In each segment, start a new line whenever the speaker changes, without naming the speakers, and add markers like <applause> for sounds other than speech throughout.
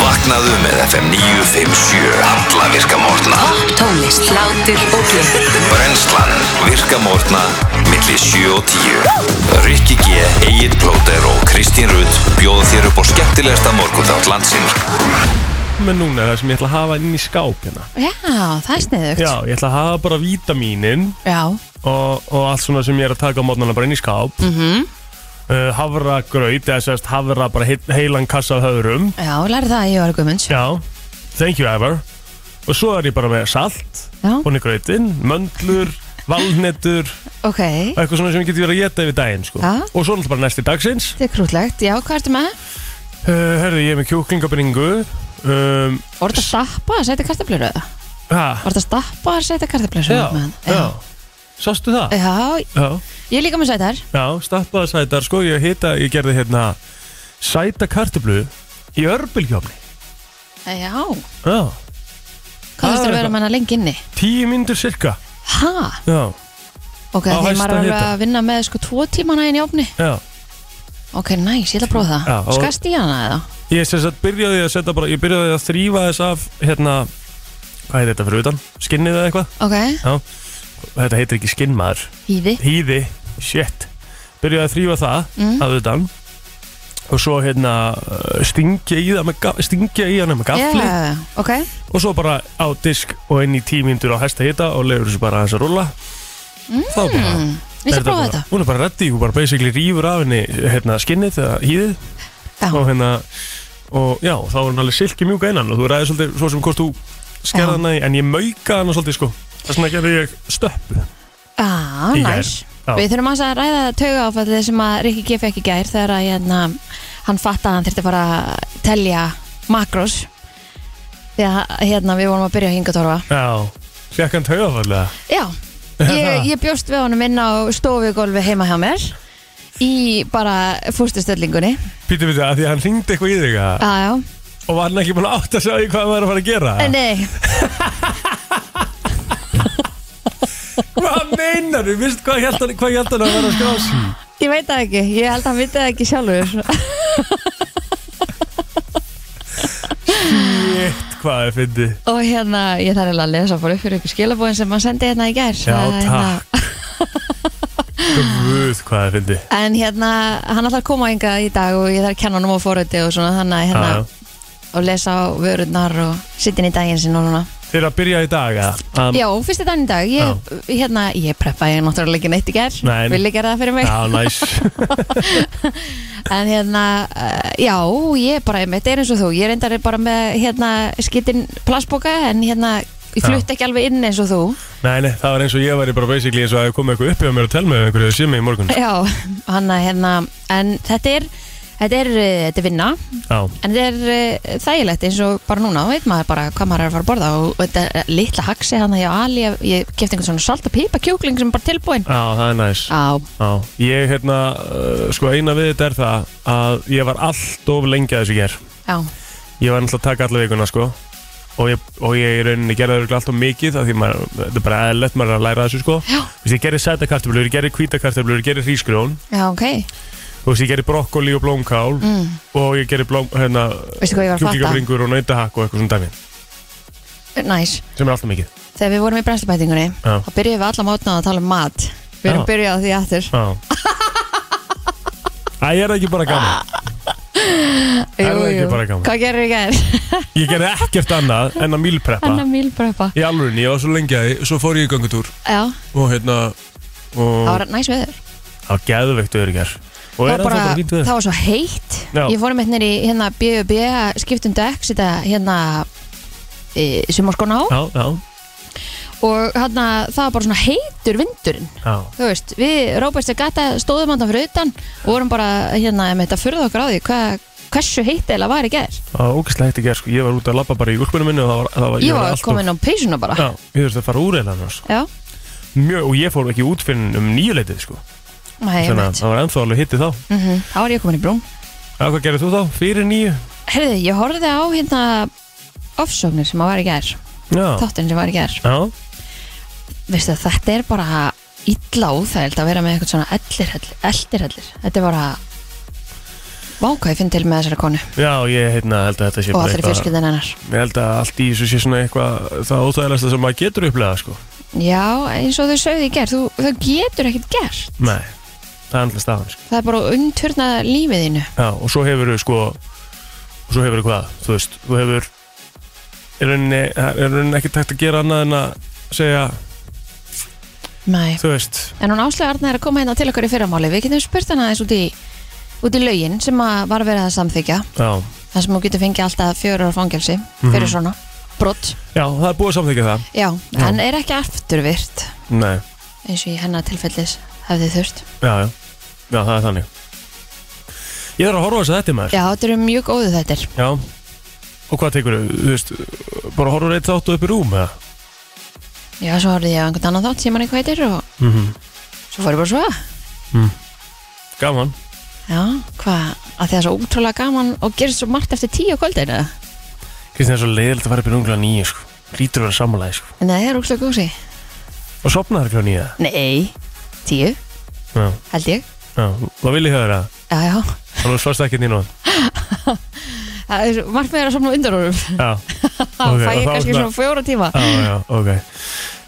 Vaknaðu með FM 957 Alla virka morgna
Tónlist, hlátur og gleði.
Brennslan virka morgna Millir 7 og 10 Rikki G, Egil Blóter og Kristín Rutt Bjóða þér upp á skemmtilegasta morgunþátt landsins
með núna það sem ég ætla að hafa inn í skáp hérna.
Já, það er sniðugt.
Já, ég ætla að hafa bara vítamínin
Já.
og, og allt svona sem ég er að taka á mótnana bara inn í skáp. Mm -hmm. uh, havra gröyt, eða sérst havra bara he heilan kassa af höfrum.
Já, lærði það að ég var guðmunds.
Já, thank you ever. Og svo er ég bara með salt,
Já.
búin í gröytin, möndlur, valnetur,
Ok,
eitthvað svona sem ég geti verið að geta yfir daginn, sko.
Já.
Og svo er bara næsti dagsins.
þetta er krútlegt. Já, hvað ertu með?
Uh, herðu, ég er með kjúklingabringu, um,
Var þetta stappa að setja kartablur eða?
ha,
Var þetta stappa að setja kartablur
já,
með hann?
já, sástu
Eh.
það?
Já,
Já.
ég er líka með sætar.
Já, stappaða sætar, sko, ég hita, ég gerði hérna sæta kartublu í örbulgjófni.
Já,
Já,
hvað þurftur
Það er
að vera
eitthvað.
með hana lengi inni?
tíu myndur sirka.
Ha?
Já,
Ok,
Á
þegar
hæsta
maður er alveg
hita.
að vinna með sko tvo tímana inn í ofni.
já.
Ok, næs, ég ætla að prófa það.
Já, og-
Skast í hana eða?
Ég sem sagt byrjaði að setja bara, ég byrjaði að þrýfa þess af, hérna, hvað heit þetta fyrir utan? Skinnið eða eitthvað?
Ok,
Þetta heitir ekki skinnmaður.
hýði.
Hýði, shit. Byrjaði að þrýfa það af utan og svo hérna uh, stingja í það með, ga- stingja í hana með gafli
Já, ok,
og svo bara á disk og inn í tímyndur á hæsta hita og lefur þessu bara aðeins að rúlla þá bara
ég ætla
er
að Mm. prófa
bara-
þetta.
hún er bara reddi, hún bara basically rýfur af henni hérna skinnið eða hýðið
Já.
og hérna og já, þá er hún alveg silki mjúka innan og þú ræðir svolítið svo sem hvort þú
Já.
skerða hana í en ég mauka hana svolítið sko þess vegna gerði ég stöppu
Já,
Í gær.
næs.
Já.
Ah, Við þurfum aðeins að ræða tauga áfallið sem að Rikki G. fekk í gær þegar að hérna, hann fatt að hann þurfti að fara að telja makros því að hérna, við vorum að byrja að hinga torfa
já, fekk hann taugafallega <laughs>
Já, ég, ég bjóst við honum inn á stofugólfi heima hjá mér í bara fúrstustöldingunni
Pítu við það, því að hann ringdi eitthvað í þig að-
Já, já,
og var hann ekki búin að átta sig á því hvað hann var að fara að gera
en nei
Hvað meinar þú? Vist hvað held hann, hvað held hann að vera að skrá sig?
<laughs> Ég veit það ekki, ég held að hann viti það ekki sjálfur
<laughs> Shit, hvað ég fyndi
Og hérna, ég þarf eiginlega að lesa fór upp fyrir ykkur skilabóðin sem hann sendi hérna í gær
Já,
Það er hérna-
takk <laughs> Guð, hvað ég fyndi
En hérna, hann ætlar að koma enga í dag og ég þarf að kenna hann um á fóröldi og svona þannig að hérna
Já, já.
og lesa á vörurnar og sittin í daginn sinn og svona.
Þeir að byrja í dag, eða? Um,
Já, fyrsti daginn í dag, ég, hérna, ég preppaði ég náttúrulega ekki neitt í gerð,
Nei, nei.
vil ég gera það fyrir mig.
Já, næs
<laughs> En hérna, uh, já, ég bara, þetta er eins og þú, ég reyndar bara með hérna skittin plassboka en hérna, ég
Já.
flutt ekki alveg inn eins og þú.
Nei, nei, það var eins og ég væri bara basically eins og að koma eitthvað upp hjá mér og telma um einhverju sem í morgun
<laughs> Já, hann að hérna, en þetta er, þetta er, uh, þetta er vinna.
Já,
En þetta er uh, þægilegt eins og bara núna, þá veit maður bara hvað maður er að fara að borða og þetta er litla haxi hann að ég Ali, ég, ég kefti einhvern svona salta pípa kjúkling sem er bara tilbúin.
já það er næs
Á,
Já, ég hérna, uh, sko eina við þetta er það að ég var allt of lengi að þessu ger
já,
Ég var náttúrulega að taka alla vikuna, sko Og ég, og ég í rauninni gerði það örugglega allt of mikið af því maður, þetta er bara eðlert maður er að læra þessu, sko
já,
Vist, ég gerði sæta kartöflur, ég gerði hvíta kartöflur, ég gerði hrísgrjón
já, ok.
Þú veist, ég gerði brokkoli og blómkál
Mm.
og ég gerði blóm, hérna,
Veistu hvað ég var að fatta?
kjúklingabringur og nautahakk og eitthvað svona dæmi
Næs.
sem er alltaf mikið.
Þegar við vorum í brennslubætingunni,
Já.
þá byrjuðum við alla mótna að tala um mat. Við erum
Já.
byrjað á því aftur. <laughs>
Já. Æ, er það ekki bara gaman? er það ekki bara gaman?
Hvað gerir ég
<laughs>
gæðir?
Ég gerði ekkert annað en að mílpreppa.
Anna mílbröpa.
Í alvörinni, ég var svo lengi að því, svo fór ég í göngutúr
Já,
og hérna, og
það var næs veður.
það var geðveikt öður í gerð. Og
Það
er
var
það bara, bara fínt við
það var svo heitt
Já.
Ég fór um eitt nýri hérna B.U.B. skiptum dekk setja hérna e, sumarskona á
Já, já,
og hérna það var bara svona heitur vindurinn
já.
þú veist, við Róbertsi gata stóðum hann fyrir utan og vorum bara hérna með þetta furða okkur á því hva, hversu heitt eða var í gerð
Það var ógæslega hægt í gerð, sko. Ég var út að labba bara í úlpunum minni og það var, það var,
Ég var
alltaf-
komin á peysuna bara
Já, ég þurfti að fara úr eða annars.
Já,
Mjög, og ég fór ekki út fyrir um nýjuleitið, sko.
Nei,
Þannig
einmitt.
að það var ennþá alveg hitti þá.
Mhm, þá var ég komin í brún
Já, hvað gerir þú þá? Fyrir nýju?
Herði, ég horfði á hérna ofsóknir sem að var í gerð
Já.
þáttinn sem var í gerð
Já.
veistu, þetta er bara illa óþægild að vera með eitthvað svona ellir, ellir, ellir, ellir. Þetta er bara vákvæði finn til með þessari konu
Já, ég heitna, held að þetta sé
og
bara
allir
eitthvað
fjölskyldin hennar
Ég held að allt í þessu sé svona eitthvað það óþægilegsta sem maður getur upplegað sko.
Já, eins og þau sögðu í gerð, þú, þau getur ekkert gert
Nei, það er alltaf staðan sko.
Það er bara að undturna lífið þínu
Já, og svo hefur þau sko og svo hefur þau hvað, þú veist þú hefur er rauninni, er rauninni ekki tækt að gera annað en að segja,
Nei.
þú veist
En hún Áslega Arna er að koma hérna til okkur í fyrramáli Við getum spurt hana aðeins út í, út í lögin sem að var verið að samþykja
Já,
þar sem hún getur fengið alltaf fjörur á fangelsi fyrir svona brott
Já það er búið að samþykja það
Já, en er ekki afturvirt
Nei,
eins og í hennar tilfellis hefði þurft
já, já, já það er þannig Ég þarf að horfa þess að þetta maður
Já, þetta eru mjög góðu þettir
Já, og hvað tekur þau, þú veist bara horfa reitt þáttu upp í rúm eða?
Já, svo horfði ég á einhvern annan þátt sem hann eitthvað heitir og
Mm
svo fór ég bara svo
Gaman
Já, hvað, að því það er svo útrúlega gaman og gerist svo margt eftir tíu á kvöldin eða?
Kristín er svo leiðilegt að fara upp í rúmlega nýju sko. Lítur að vera sammálaði sko.
En það er úrslag gósi
Og sopnaði ekki á nýja
Nei, tíu,
Já,
held ég
já, hvað vil ég höra það?
Já, já,
Þannig svarst ekki nýja
það er margt meira að sofna á undarórum
Já,
Það <laughs>
Ok,
fæ
og
ég
þá
kannski
svona-
svona fjóra tíma
já, já, ok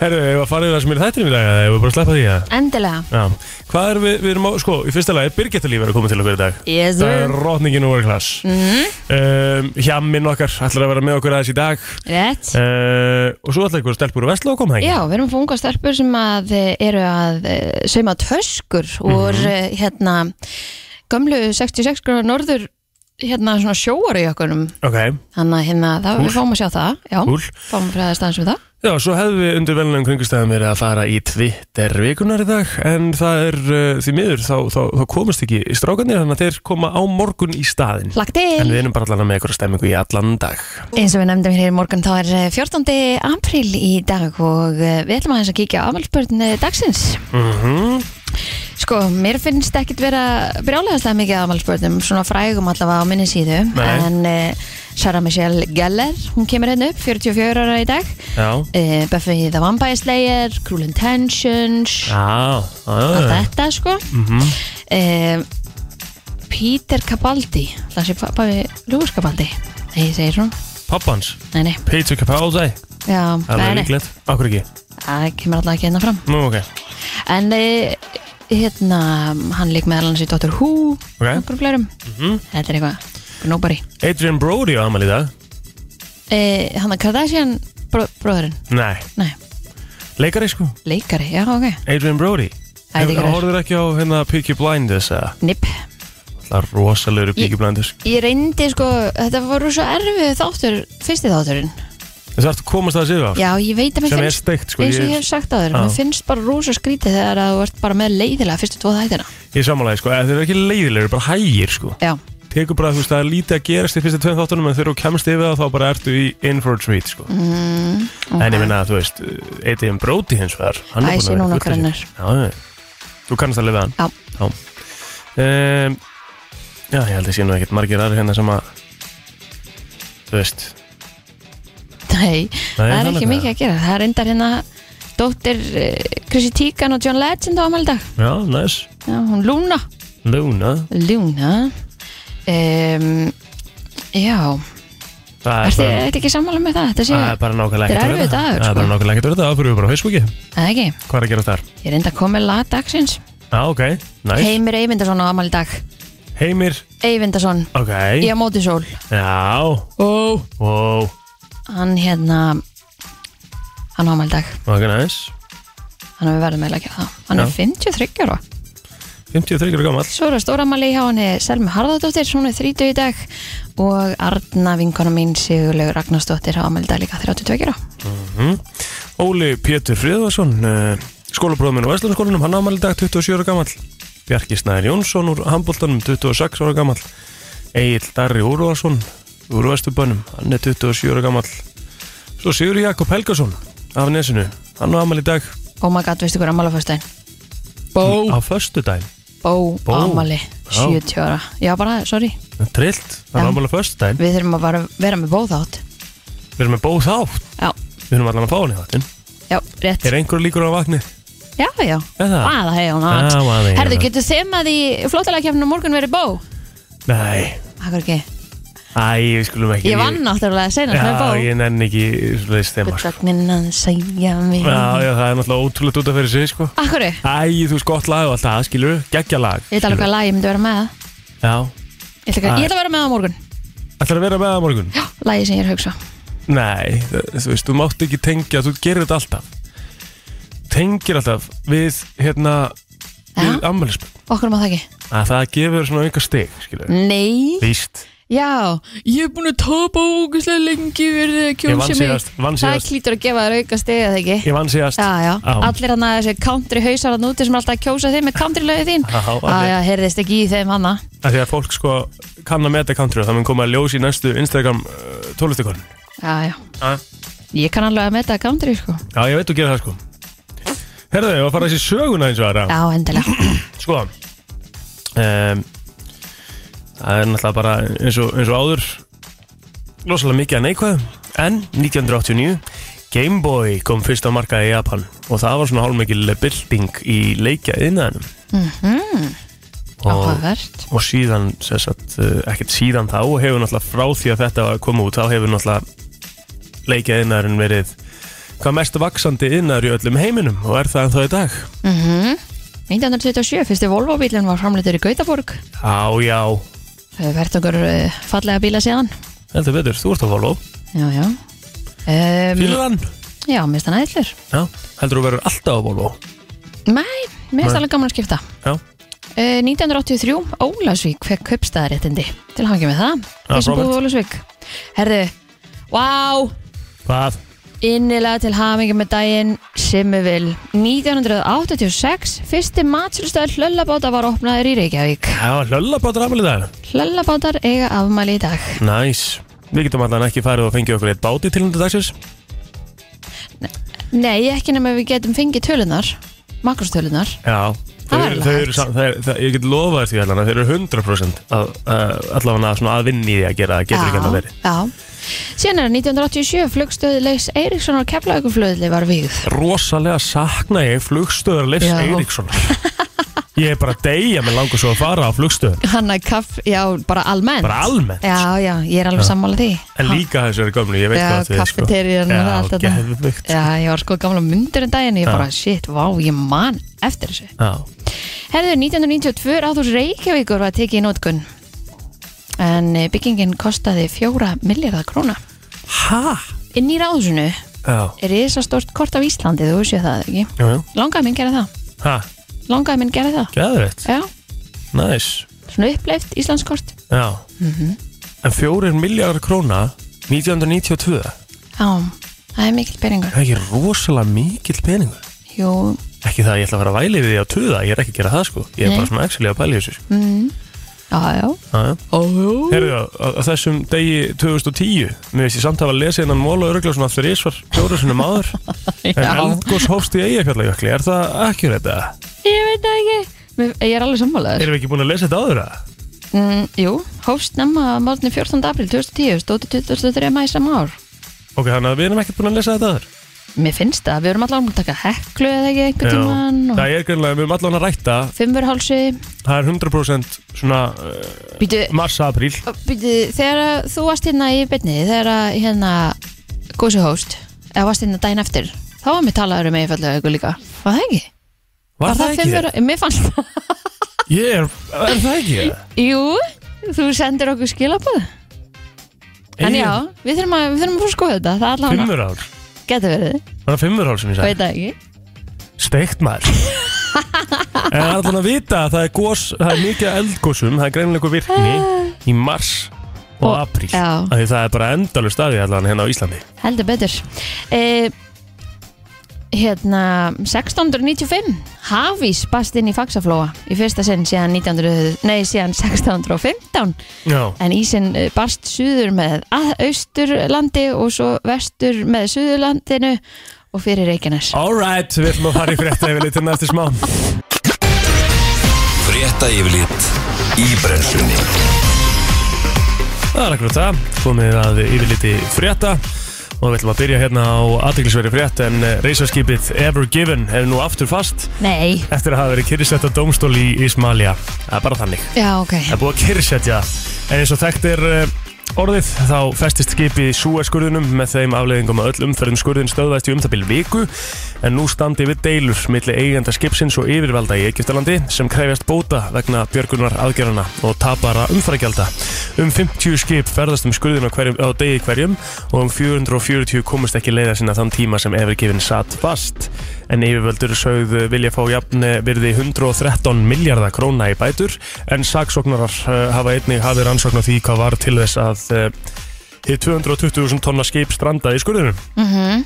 Herru, ef að fara yfir það sem er í þættinum í dag eða ef við bara að sleppa því að
Endilega
Já, hvað er við, við erum á, sko, í fyrsta lagi Birgitta Líf er að koma til okkur í dag
Yes, sir.
Það er rotningin úr klass mm
Mhm.
-hmm. um, Hjamminn okkar ætlar að vera með okkur aðeins í dag
Rétt
uh, Og svo ætlar ykkur stelpur og vesla að koma hengi
Já, við erum að fá unga stelpur sem að eh, eru að eh, sauma töskur úr
Mhm.
eh, hérna gömlu 66 gráður norður hérna svona sjóar í okkunum
Ok,
þannig að hérna það
Kúl.
við fáum að sjá það já,
cool
fáum að fræða staðans við það
Já, svo hefðum við undir velnum kringustæðum verið að fara í Twitter vikunar í dag en það er uh, því miður þá, þá, þá komast ekki strákanir þannig að þeir koma á morgun í staðin
Lagt
en
til,
við erum bara allan með ykkur stemmingu í allan dag
eins og við nefndum hér í morgun þá er eh, 14. apríl í dag og eh, við ætlum aðeins að kíkja á afmælspörn dagsins
mm -hmm.
Sko, mér finnst ekkit vera brjálegastlega mikið af afmælspörnum, svona frægum allavega á minni síðu,
Nei.
en uh, Sarah Michelle Geller, hún kemur hérna upp 44 ára í dag,
Já,
uh, Buffy the Vampire Slayer, Cruel Intentions,
Ah. já,
og
já Mhm.
þetta sko mm Peter Capaldi, það sé pappi Lúfus Capaldi, nei, ég segir hún,
Pappans,
nei, nei,
Peter Capaldi
já,
Það
nei,
er
nei,
líklegt, okkur ekki
það kemur allavega ekki hérna fram,
Nú, ok,
en uh, hérna, hann lík meðal hans í Doctor Who,
ok Mhm.
einhverjum fleirum Þetta er eitthvað, nobody
Adrian Brody á amal í dag
e, Hanna Kardashian bró, bróðurinn,
Nei,
nei,
leikari sko,
leikari, já ok
Adrian Brody
Æ, þetta er ekki rætt.
Hórður ekki á hérna Peaky Blinders eða?
Nip
Það er rosalegur
Ég-
Peaky Blinders
Ég reyndi sko, þetta voru svo erfið þáttur, fyrsti þátturinn
Það þarf að komast að þessi á
Já, ég veit að mér
sem er
finnst
steikt sko,
eins og ég
ég,
hef sagt á þér,
Já.
mér finnst bara rosa skrítið þegar að þú ert bara með leiðilega fyrstu tvo þættina
ég samanlega sko, eða þeir eru ekki leiðilegur, bara hægir sko
Já,
tekur bara, þú veist, það er lítið að gerast í fyrstu tveim þáttunum en þegar þú kemst yfir það þá bara ertu í in for a treat sko
Mhm. Mm,
en ég minna að þú veist, Adrian Brody hins vegar hann
Æ,
er
ég sé
búin
núna
að
hver
vera
hann er
gull þessi. Já, já, þú kannast að lifa hann
Já.
um, já, ég held að sé nú ekkert margir aðri hérna sem að þú veist
Nei, það er
þannig
ekki
að-
mikið að gera Það er reyndar hérna dóttir uh, Chrissy Teigan og John Legend á amaldag
já, nice,
Já, hún Luna
Luna
Luna um, Já,
það
ertu
bara-
ertu ekki sammála með það? Þetta sé
það er bara nákvæmlega
Þetta er
ekkert að
erfiður
vera.
dagur,
það er
sko.
bara nákvæmlega ekkert að vera það, það fyrir við bara á Facebooki
Það ekki,
hvað er að gera þar?
ég reynda að koma með lag dagsins
Já, ok, nice
Heimir Eyvindarsson á amal í dag
Heimir,
Eyvindarsson,
ok
ég á móti sól
Já,
Ó
wow,
Hann hérna Hann á amal í dag,
ok, nice
hann hefur verið með lagja það Hann er
Já.
53 ára
53 ára gammal
Svo er að stóra amali hjá hann er Selma E, Harðardóttir, hún er 30 í dag og Arna vinkona mín Sigurlegu Ragnarsdóttir á amal í dag líka 32 ára
Mhm. Óli Pétur Friðvarsson uh, skólabróðminn á Vestlandskólanum hann ámæli dag 27 ára gammal Bjarki Snæður Jónsson úr handbóltanum 26 ára gammal Egil Darri Úrvarsson úr Vesturbönum hann er 27 ára gammal Svo Sigur Jakob Helgason af Nesinu hann ámæli dag
Oh my god, veistu hver amali á föstudaginn? Bó
á föstudaginn
Bó,
Bó.
Amali,
Já.
70 ára Já bara, sorry,
Trillt, hann
Já.
ámæli á föstudaginn
við þurfum að bara vera með bóðátt
Við erum með bóð þátt
Já,
Við erum allan að fá hann í þáttinn
já, rétt
Er einhver líkur á vakni?
Já, já,
Er það?
aða hei hún
Ah,
átt
maður, já.
Herðu, getur þeim að í flótalega kefnum morgun verið bó?
Nei,
Akkur ekki
æ, við skulum ekki
Ég vann náttúrulega senast með
Já,
bó
ég nenni ekki svoleiðis þema sko.
Gullagnin að segja mig
Já, já, það er náttúrulega ótrúlega út að fyrir sig sko.
Akkur, ég
Æ, þú veist gott lag og allt það, skilur Geggja lag
veit alveg hvað lag ég um myndi vera með
skilurðu. Já,
Ég ætla ekki- ég ætla að vera með á morgun
ætlar að vera með það á morgun?
Já, lagi sem ég er að hugsa
Nei, þ- þú veist, þú mátt ekki tengja Þú gerir þetta alltaf Tengir alltaf við, hérna
Já.
Við ammælismenn
Okkur um má það ekki
að Það gefur svona einhver stig,
Mm.
skilur
Nei
Víst,
Já, ég er búin að tapa ógustlega lengi verið að
Ég vann
kjósa mig
síðast, vann
Það
síðast.
klítur að gefa þér auka stegið það ekki
ég vann síðast
Já, já, allir hann að þessi country hausar hann úti sem alltaf kjósa þig með country lögið þín
Já, allir.
Já, já, heyrðist ekki í þeim hanna
Af því að fólk sko kann að meta country og það mun koma að ljós í næstu Instagram uh, tólustikorn
Já, já,
Já,
ég kann alveg að metta country sko
ég veit þú gerir það sko Herðu, ég var að fara þessi söguna eins og aðra
Já, endilega
Sko um, Það er náttúrulega bara eins og, eins og áður Losalega mikið að neikvæðum En 1989 Game Boy kom fyrst á markaði í Japan Og það var svona hálfmikil bylting í leikja innanum
Mhm.
Og
Áhugavert
og síðan, sem sagt, eh, ekkert síðan þá hefur náttúrulega frá því að þetta var að koma út þá hefur náttúrulega leikjað innarinn verið hvað mest vaksandi innar í öllum heiminum og er það ennþá í dag
Mhm. 1927, fyrsti Volvo bílinn var framleitur í Gautaborg
Já, já,
Hefur verðt okkur eh, fallega bíla síðan
heldur betur, þú ert að Volvo
Já, já um,
Fýlar hann?
Já, mér stann ætlur
Já, heldur þú verður alltaf á Volvo
Nei, mér
Nei.
stann alveg gaman að skipta
Já,
Eh, 1983, Ólasvík fekk kaupstæðaréttindi til hangi með það
Ja,
þeir sem
frábært.
búið Ólasvík herðu, vá
hvað?
innilega til hamingi með daginn Simmuvil 1986, fyrsti matslustöð hlöllabáta var opnaður í Reykjavík
Já, hlöllabátur afmæli í dag
hlöllabátar eiga afmæli í dag
Næs, við getum allan ekki farið og fengið okkur eitt báti til hundu dagsins
nei, ekki nema við getum fengið tölunar makróstölunar
Já
Það
Þau,
er alveg
þau
hægt.
eru, sam- þau, þau, ég get lofað þér því allan að þau eru 100% að, að, allavega svona að vinni í því að gera það getur ekki annað verið
síðan er 1987, flugstöð Leifs Eiríksson og Keflavíkurflöðli var víð
rosalega sakna ég flugstöður Leifs
Já.
Eiríkssonar Ég er bara að deyja með langar svo að fara á flugstöður
Hanna kaff, já, bara almennt
Bara almennt.
Já, já, ég er alveg sammála því
En líka þessari gömlu, ég veit
Já,
hvað þetta er sko
kaffeterían og það allt
Já,
þarna.
geðvikt
Já, ég var sko gamla myndur um daginn og ég
Já.
bara, shit, vá, ég man eftir þessu
Já,
Herður, 1992 ráðhús Reykjavíkur var tekið í nótkun En eh, byggingin kostaði fjóra miljardar króna
Hæ?
Inn í ráðhúsinu
Já,
er risastort kort af Íslandi, þú séu það ekki
jú, jú
Langaði minn gera það,
Hæ,
langaði minn gera það
geðvikt,
Já,
næs
svona uppleift Íslandskort
Já
Mhm.
En fjórir miljardar króna 1992 Það
Já, það er mikill beringur
er ekki rosalega mikill peningur
Jú,
Ekki það að ég ætla að fara að væli við því að tuða Ég er ekki að gera það sko Ég er
Nei. Mm.
bara svona actually að pæla í þessu sko.
já, já
Já, já
Ójú
Herðu, á á þessum degi 2010 Mér veist ég samt hafa lesið hennan móla örgla svona þrísvar fjóra sinum áður
<laughs>
En eldgós hófst í eigafjallajökli, er það ekki þetta?
Ég veit það ekki Mér- Ég er alveg sammálaður
Erum við ekki búin að lesa þetta áður að?
mm, Jú, hófst nema að morgunni 14. april 2010 stóti 23. mæ saman ár
Ok, þannig að við erum ekkert búin að lesa þetta áður
Mér finnst það, við erum allan að taka heklu eða ekki einhver tíman
Já.
og
Það er greinlega, við erum allan að rætta
fimmurhálsi
Það er 100% svona uh,
Býtu,
mars-april
býtu, þegar að þú varst hérna í byrni þegar að hérna gósi hófst, eða varst hérna daginn eftir þá var mér talaður um eiginfallega ykkur líka Var það ekki?
Var það ekki?
fimmur- Mér fannst það
Ég er, er það ekki?
Jú, þú sendir okkur skilabóð En já, við þurfum að, við þurfum að fór að skoða þetta Það er allan
Fimmur ár,
Getur verið,
var það fimmur ár sem ég sagði?
veit það ekki <laughs>
Steikt maður En það er allan að vita að það er, gos, það er mikið af eldgosum Það er greinlega einhver virkni í mars og
Og-
apríl
já.
Af Því það er bara endalur staði allan hérna á Íslandi
Heldur betur e, Hérna 1695 Hafís bast inn í Faxaflóa í fyrsta sinn síðan, 1900, nei, síðan 1615
Já,
en ísinn eh, barst suður með að- austurlandi og svo vestur með suðurlandinu og fyrir Reykjanes
alright, við ætlum að fara í frétta ef við litum næstu smá
Frétta yfirlit í brennslunni
Það er akkur það, komið að yfirliti frétta Og við ætlum að byrja hérna á aðtiklisveri frétt en eh, reisaskipið Ever Given er nú aftur fast
Nei
eftir að hafa verið kyrrisett á dómstól í Ismalia. Það er bara þannig.
Já, ok
Það er búið að kyrrisetja það. En eins og þekkt er eh, orðið þá festist skipið í súaskurðunum með þeim afleiðingum að öll umferðum skurðin stöðvæst í umþabil viku en nú standi við deilur milli eigenda skipsins og yfirvalda í Egyptalandi sem krefjast bóta vegna björgunar aðgerðana og tapara umfæragjalda. Um 50 skip ferðast um skurðin á, hverjum, á degi hverjum og um 440 komust ekki leiða sinna þann tíma sem Evergifin satt fast. En yfirvöldur sögðu vilja fá jafn eh, virði 113 miljardar króna í bætur en saksóknarar eh, hafa einnig hafið rannsókn á því hvað var til þess að uh, 220.000 tonna skip strandaði í skurðinu
Mhm.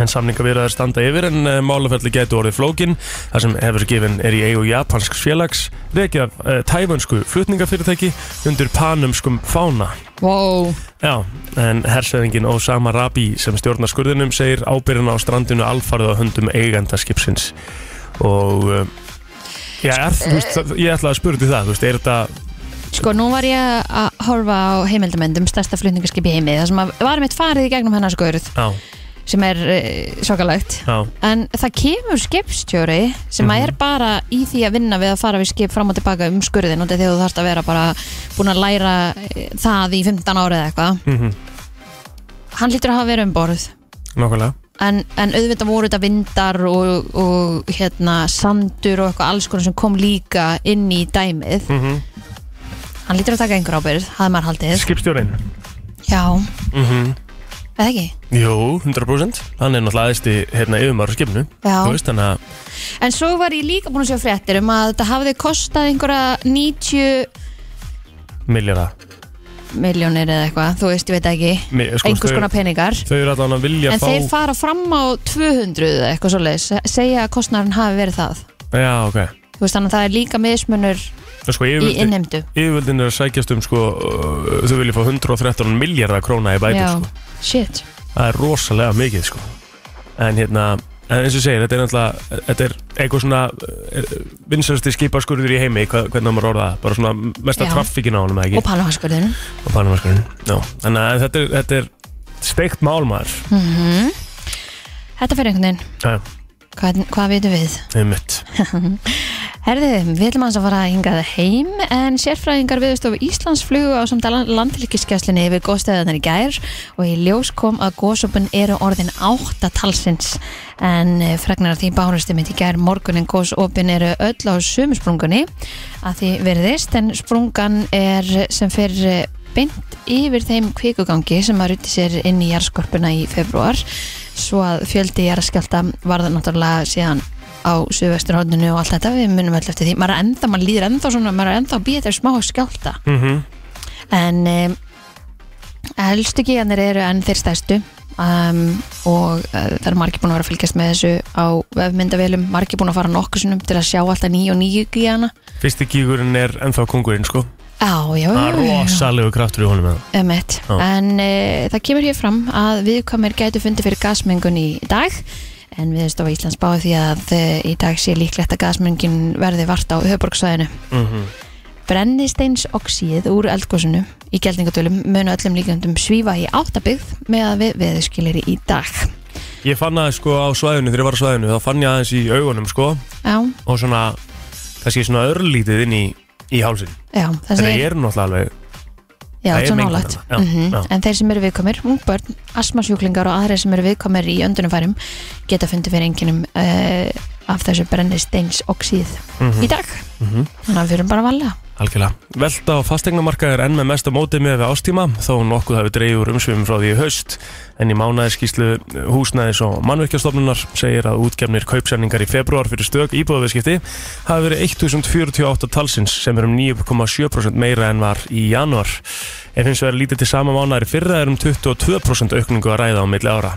en samningavýraðar standa yfir en uh, málaferli getur orðið flókin þar sem Evergiven er í eigu japansks félags rekið af uh, tæfansku flutningafyrirtæki undir panumskum fána
Wow
Já, en hersöðingin Osama Rabi sem stjórnar skurðinum segir ábyrðin á strandinu alfarðu á höndum eigenda skipsins og uh, já, er, þú
Eh.
veist, það- ég ætlaði að spurði það, þú veist, er þetta
Sko, nú var ég að horfa á heimildamöndum stærsta flutningarskip í heimi þar sem að varum eitt farið í gegnum hennar skurð
já,
sem er uh, sjokalagt
já,
en það kemur skipstjóri sem er bara í því að vinna við að fara við skip fram og tilbaka um skurðin og þetta er þegar þú þarfst að vera bara búin að læra eh, það í 15 árið eða eitthvað
mm
hann lítur að hafa verið um borð
nákvæmlega
en, en auðvitað voru þetta vindar og, og hérna sandur og eitthvað alls konar sem kom líka inn í dæmið
mm
hann lítur að taka einhver ábyrð, hafði maður haldið
Skipstjórin
já,
mm
eða ekki
Jú, 100% Hann er náttúrulega aðeins í hérna, yfirmaður á skipinu
Já.
Þú veist, þannig að
En svo var ég líka búin að sjá fréttir um að þetta hafði kostað einhverja 90
milljara
miljónir eða eitthvað, þú veist, ég veit ekki
Mi- sko,
einhvers
þau-
konar peningar
Þau eru allan að vilja
en
fá
þeir fara fram á 200 eða eitthvað svoleiðis, segja að kostnarinn hafi verið það
Já, ok
þú veist, þannig að það er líka mismunur
Það sko,
í
yfirvöldin,
innheimdu
yfirvöldin er að sækjast um sko, uh, Þau vilja fá 113 miljardar króna í bætur
Já,
sko.
shit
Það er rosalega mikið sko. En hérna En eins og ég segir, þetta er náttúrulega Þetta er eitthvað svona Vinsarsti skipaskurður í heimi, hva, hvernig á maður orða það? Bara svona mesta
Já.
traffikin á honum
og
eða ekki,
panamaskurðinu
og panamaskurinn Já. Þannig að þetta er, þetta er steikt málmaður
Hm. Þetta fyrir einhvern veginn,
Já, já,
hvað, hvað vitum við?
einmitt
Herði, við ætlum aðeins að fara hingað heim en sérfræðingar viðstofu Íslands flugu á samt landfylgiskeslinni yfir góðstöðunar í gær og í ljós kom að góðsöpun eru orðin átta talsins en eh, fregnar af því bárusti mitt í gær morgunin góðsöpun eru öll á sömu sprungunni að því verðist en sprungan er sem fyrir beint yfir þeim kvikugangi sem að ruti sér inn í jarðskorpuna í februar svo að fjöldi jarðskjálta varða náttúrulega síðan á suðvesturhóðinu og allt þetta við munum alltaf eftir því, maður er ennþá, maður líður ennþá svona, maður er ennþá að býja þetta smá skjálta
mm
en um, helstu gíðanir eru enn þeir stærstu um, og uh, það er margir búin að vera að fylgjast með þessu á vefmyndavélum, margir búin að fara nokkusunum til að sjá alltaf nýju og nýju gíðana
Fyrsti gígurinn er ennþá kongurinn sko
Já, já, já,
Það er
já, já.
rosalegu kraftur í honum eða.
Emmett,
Já.
en e, það kemur hér fram að viðkomir gætu fundi fyrir gasmengun í dag en viðstofa Íslands báði því að e, í dag sé líklegt að gasmengun verði vart á höfborgsvæðinu.
mm
Brennisteinsoxíð úr eldgósinu í geldingadölum munu öllum líkjöndum svífa í áttabyggð með að við veðurskilir í dag.
Ég fann að sko á svæðinu, þegar ég var á svæðinu þá fann ég aðeins í augunum sko
Já,
og svona, kannski svona örlítið inn í, í hálsin
já, það
Þetta
segir,
er náttúrulega alveg
já,
það er
svo
mengun
nálægt.
þarna. Já,
Mm
já.
En þeir sem eru viðkomir, ungbörn, astmasjúklingar og aðrir sem eru viðkomir í öndunumfærum geta fundið fyrir enginum uh, af þessu brennisteinsoxíð
Mhm.
í dag. Þannig að við erum bara að valja.
Algjörlega. Velta á fastegnamarkaðir enn með mesta móti með við ástíma þó nokkuð hafi dreifur umsvifum frá því í haust en í mánæðiskíslu húsnæðis og mannverkjastofnunar segir að útgefnir kaupsendingar í februar fyrir stök íbúðaviðskipti hafi verið 1048 talsins sem er um 9,7% meira en var í januar en hins vegar lítið til sama mánar í fyrra er um 22% aukningu að ræða á milli ára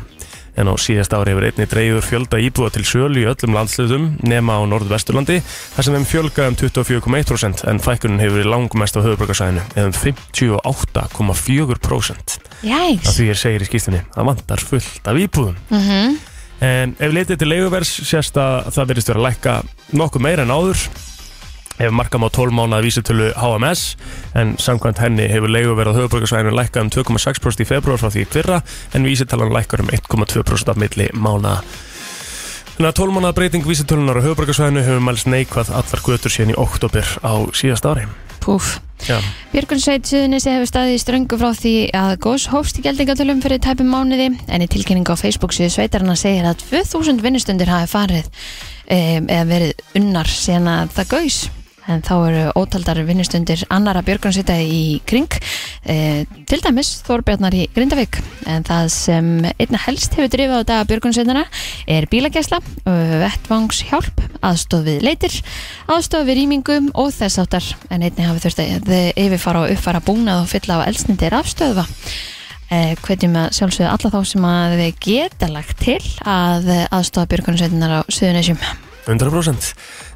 en á síðast ári hefur einni dreifur fjölda íbúa til sölu í öllum landslutum nema á Norðvesturlandi þar sem þeim fjölgaði um 24,1% en fækkunin hefur verið langmest á höfuborgarsæðinu eða um 58,4%
Jæks.
af því ég segir í skýstinni það vantar fullt af íbúðum
Mm -hmm.
En ef litið til leiguvers sérst að það verðist vera að lækka nokkuð meira en áður Ef markam á 12 mánaða vísitölu HMS en samkvæmt henni hefur leiguverð á höfuborgarsvæðinu lækkað um 2,6% í februar frá því í fyrra en vísitalan lækkar um 1,2% af milli mánaða. Þannig að 12 mánaða breyting vísitölunar á höfuborgarsvæðinu hefur mælst neikvað allar götur síðan í oktober á síðast ári.
Púf.
Já.
Björgunsveit Suðunissi hefur staðið í ströngu frá því að gós hófst í geldingatölum fyrir tæpum mánuði en í tilkynningu á Facebook síðu sveitarna segir að 2000 vinnustundir hafi farið um, eða verið unnar sen að það gaus en þá eru ótaldar vinnustundir annara björgunsveita í kring e, til dæmis Þorbjarnar í Grindavík en það sem einna helst hefur drifað á daga björgunsveitana er bílagesla, vettvangshjálp aðstof við leitir, aðstof við rýmingum og þess áttar en einni hafi þurft að yfirfara og uppfara búnað og fylla á elsnindi rafstöðva Eh, hvetjum að sjálfsögðu alla þá sem að við geta lagt til að aðstofa björgunarsveitinar á Suðunesjum
100%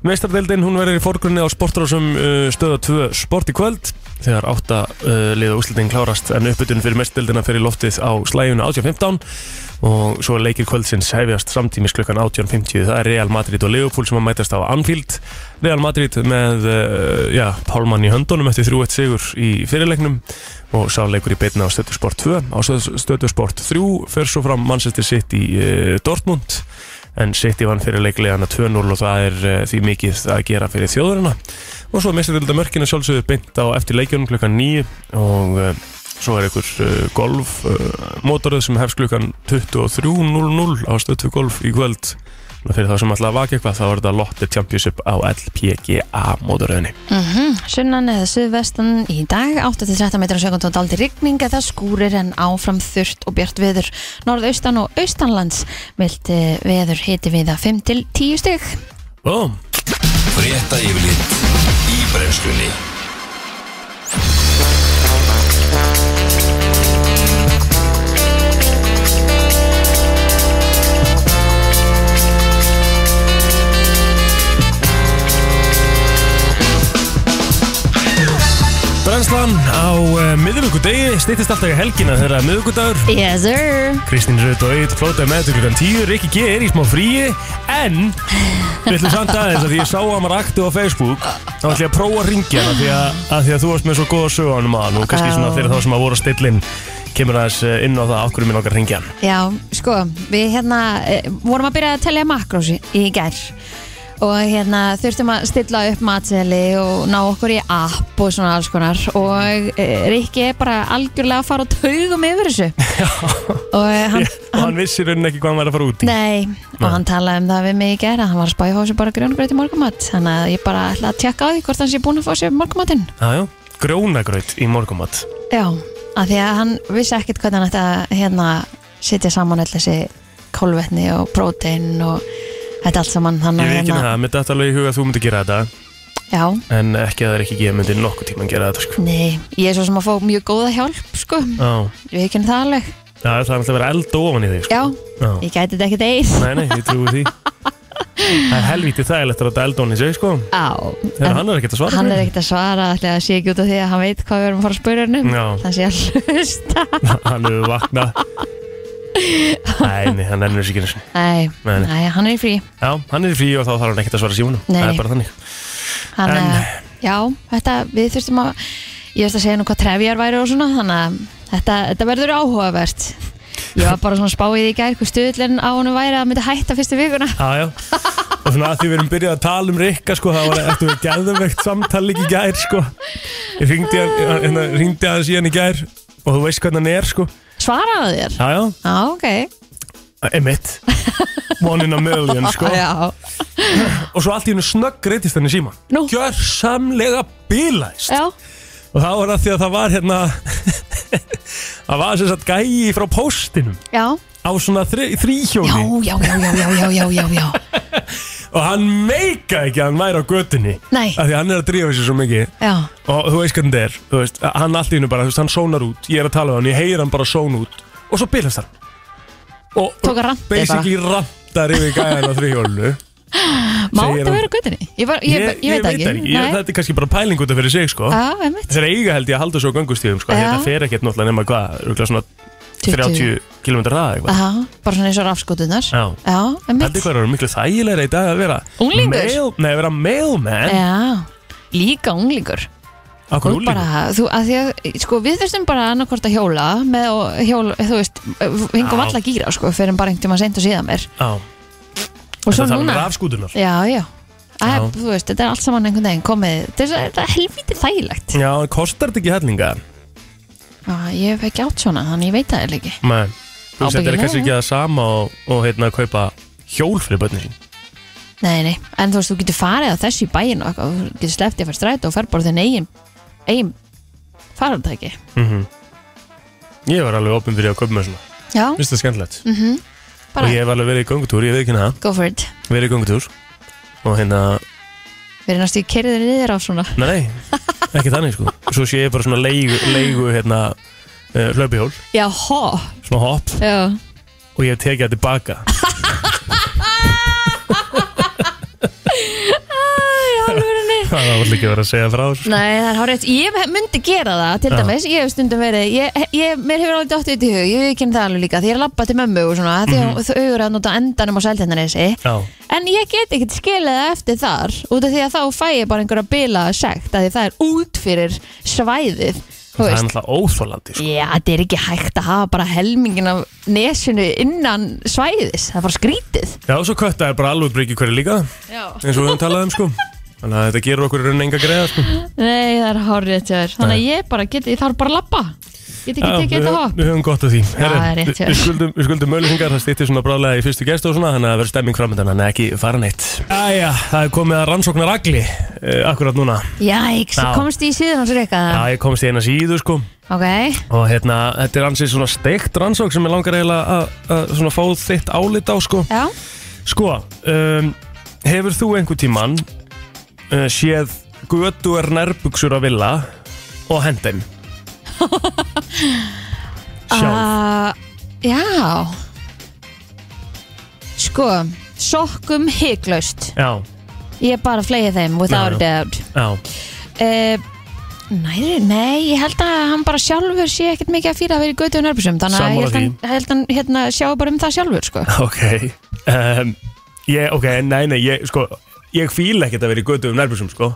Meistardeldin hún verður í forgrunni á sportrásum uh, stöða 2 sport í kvöld þegar átta uh, liða úslitin klárast en uppbytun fyrir meistardeldina fyrir loftið á slæjunu 18.15 og svo leikir kvöldsins hefjast samtímis klukkan 18.50 það er Real Madrid og Liverpool sem að mætast á Anfield Real Madrid með uh, já, Pálmann í höndunum eftir 3-1 sigur í fyrirleiknum og sá leikur í beitna á Stöðu Sport 2 á Stöðu Sport 3 fer svo fram Manchester City uh, Dortmund en City vann fyrir leiklegana 2-0 og það er uh, því mikið að gera fyrir þjóðurina og svo mistið þetta mörkina sjálfsögðu beint á eftir leikjunum klukkan 9 og uh, svo er einhver uh, golf uh, mótorið sem hefst klukkan 23.00 á stöðtu golf í kvöld og fyrir það sem ætla að vaka eitthvað þá er þetta Lotte Championship á LPGA mótoröðinni
mm Sunnan eða suðvestan í dag 8-13 metrar á sekund og daldi rigning eða skúrir en áfram þurrt og bjart veður norðaustan og austanlands vildi veður hiti við að 5-10 stygg
Ó,
Frétta yfirlit í brennslunni
brennslan á uh, miðvíkudegi stýttist alltaf í helgina þegar að miðvíkudagur
Yes sir
Kristín Rut og Eitt flótaði með þetta klukkan 10 Rikki G er í smá fríi En Við ætlum samt aðeins að því ég sá að maður aktu á Facebook Þá ætlum ég að prófa að ringja hana því að, að því að þú varst með svo góða sög á hann maður Og kannski svona fyrir þá sem að voru að stillin Kemur aðeins eh, inn á það af hverju minn okkar ringja hann
Já, sko, við hérna eh, vorum að byrja að telja makrósi í gær og hérna þurftum að stilla upp matseli og ná okkur í app og svona alls konar og e, Rikki er bara algjörlega að fara á taugum yfir þessu og eh, hann,
Og hann vissi í rauninni ekki hvað hann væri að fara út í
nei, og hann talaði um það við mig í gær að hann var að spæja hósi bara grjóngröð í morgumat þannig að ég bara ætla að tjekka á því hvort hann sé búin að fá sér morgumatinn
Já, já Grónagraut í morgumat
Já, af því að hann vissi ekkert hvernig hann ætti að hérna setja saman öll þessi kólvetni og prótein og þetta allt saman hann
Ég veit ekki með það, mitt þetta alveg í huga að þú myndi gera þetta
Já,
En ekki að það er ekki ég myndi nokkuð tíma gera þetta sko.
nei, ég er svo sem að fá mjög góða hjálp sko,
Já,
ég veit ekki það alveg
Já, það er alltaf að vera eld ofan í þig sko.
Já,
Já.
ég gæti þetta ekkert eigin
Nei, nei, ég trúi því Það er helvítið þægilegt að ráta eldón í sig, sko
Já,
Þegar
en
hann er ekkert að svara
hann er ekkert að svara ætli að það sé ekki út af því að hann veit hvað við erum að fara að spyrja hann um
Já.
það sé að hlusta
ekkert <laughs> Hann hefur vaknað Nei, nei, hann ennur sig ekki einu sinni.
Nei,
Nei, nei.
nei, hann er í frí
Já, hann er í frí og þá þarf hann ekkert að svara símanum
Nei,
Það
nei.
er bara þannig
hann,
En-
en, já, þetta, við þurftum að ég veist að segja nú hvað trefjar væri og svona þannig að þetta, þetta verður áhugavert ég var bara svona spáið í gær hvað stuðlinn á honum væri að myndi hætta fyrstu vikuna
Já, já Og svona að því við erum byrjað að tala um Rikka, sko Það var eftir við geðveikt samtal líka í gær, sko Ég ringdi hann, hann, hann ringdi hann síðan í gær Og þú veist hvernig hann er, sko
svaraðu þér?
Já, já,
Já, ok
emitt One in a million, sko
já.
Og svo allt í hennu snögg reytist hann í síman
Nú.
Gjörsamlega bílæst
já,
og það var að því að það var hérna <laughs> það var sem sagt gæi frá póstinum
já
á svona þri,
já,
þrýhjóli
já, já, já, já, já, já, já, já
og hann meika ekki að hann væri á götunni
Nei.
af því að hann er að drífa sér svo mikið
já,
og þú veist hvernig þetta er þú veist, hann allt í hennu bara, þú veist, hann sónar út ég er að tala við hann, ég heyr hann bara són út og svo bilast hann og
Tók að ranta
basically rantar yfir gæðan á þrýhjólinu
má
Segir
þetta
hann-
vera á göttinni? Ég, var, ég, ég, veit það ekki
Ég,
Nei.
þetta er kannski bara pæling út af fyrir sig sko.
Já, einmitt
þeir eiga held ég að halda svo á göngustíðum sko. því
Já.
þetta fer ekkert náttúrulega nema hvað örugglega svona
20.
30 km ræða eitthvað
Aha, bara svona eins og rafskotunar
Já.
já einmitt
Þetta er hvað eru miklu þægilega í dag að vera
Unglingur? Eh,
Mail, nei, að vera mailman
Já, líka unglingur
Akkur
og
úlingur?
bara, þú, að því að sko, við þurftum bara annarkvort að hjóla með og hjóla, þú veist, hengum
Já.
alltaf gíra sko, fyrir bara einhvern tíma seint og síðan mér
Já,
og
þetta
svo
þarf um
núna,
rafskútunar
já, já
Já.
Æ, þú veist, þetta er allt saman einhvern veginn komið þetta er, þetta er helvítið þægilegt
Já, en kostar þetta ekki hellinga?
Æ, ég hef ekki átt svona, þannig ég veit það eiginlega ekki
Nei, þú veist, þetta er
Ábyggilega.
kannski ekki það sama og, og heitna að kaupa hjól fyrir börnin sín
Nei, nei, en þú veist, þú getur farið að þessu í bæin og eitthvað, þú getur sleftið að fara stræta og fer bara þinn eigin, eigin farandæki.
Mhm. Ég var alveg opinn fyrir að kaupa með svona
Já,
Vist það skemmtilegt
Mhm. bara,
Og ég hef alveg verið í göngutúr, ég veit ekki hana
go for it.
Verið í göngutúr Og hérna,
Við erum næstu kerðið niður á svona.
nei, nei, ekki þannig sko Svo sé ég bara svona leigu, leigu hérna uh, Hlaupihjól,
Já, hó,
svona hopp
já.
<laughs> Og ég hef tekið það
<laughs>
tilbaka
Æ, alvörunni.
Það var líka verið að segja frá þessu, sko.
Nei, það er hárétt. Ég myndi gera það, til
Já.
dæmis. Ég hef stundum verið, ég, ég, mér hefur alveg dóttið í hug, ég kynna það alveg líka, því ég er að labba til mömmu og svona, því
Mhm.
mm þau eru að nota endanum á sæltendanesi.
Já,
En ég get ekkert skilið það eftir þar út af því að þá fæ ég bara einhverja bila sekt að því það er út fyrir svæðið þú
það er
veist.
náttúrulega óþólandi sko.
Já, þetta er ekki hægt að hafa bara helmingin af nesinu innan svæðis það er bara skrítið
Já, svo kötta er bara alveg bryggið hverju líka
Já.
eins og við höfum talað um sko Þannig að þetta gerur okkur í rauninni enga greiða sko
Nei, það er hárrið þér þannig að ég bara get, ég þarf bara að labba get ekki
Já,
tekið
við-
þetta hopp
Við höfum gott af því Herru,
það er rétt
við-
hjá
Við
þér.
skuldum, við skuldum möluhingar, það stýttir svona bráðlega í fyrstu gestu og svona Þannig að það verður stemming framöndan, þannig að ekki fara neitt Æja, það er komið að rannsóknar agli uh, Akkurat núna
Jæks,
Já.
komst í síðan hans reyka
Já, ég komst í eina síðu sko
Ok,
Og hérna, þetta er ansið svona steikt rannsók Sem ég langar eiginlega að- að svona fá þitt álit á sko
já
Sko, um, hefur þú einhver tíman uh, séð götu er nærbuksur að vilja og hendin?
uh,
Sjálf.
Já Sko, sokkum hygglaust
Já,
Ég bara flegi þeim without a
Já,
doubt
já.
uh, Nei, nei, ég held að hann bara sjálfur sé ekkert mikið að fýra að vera í götu og nörbusum Þannig að ég
Sammála
held hann, held hann hérna, sjá bara um það sjálfur sko.
Ok. Um, ég, ok, nei, nei, ég, sko, ég fíla ekkert að vera í götu um nærbuksum, sko.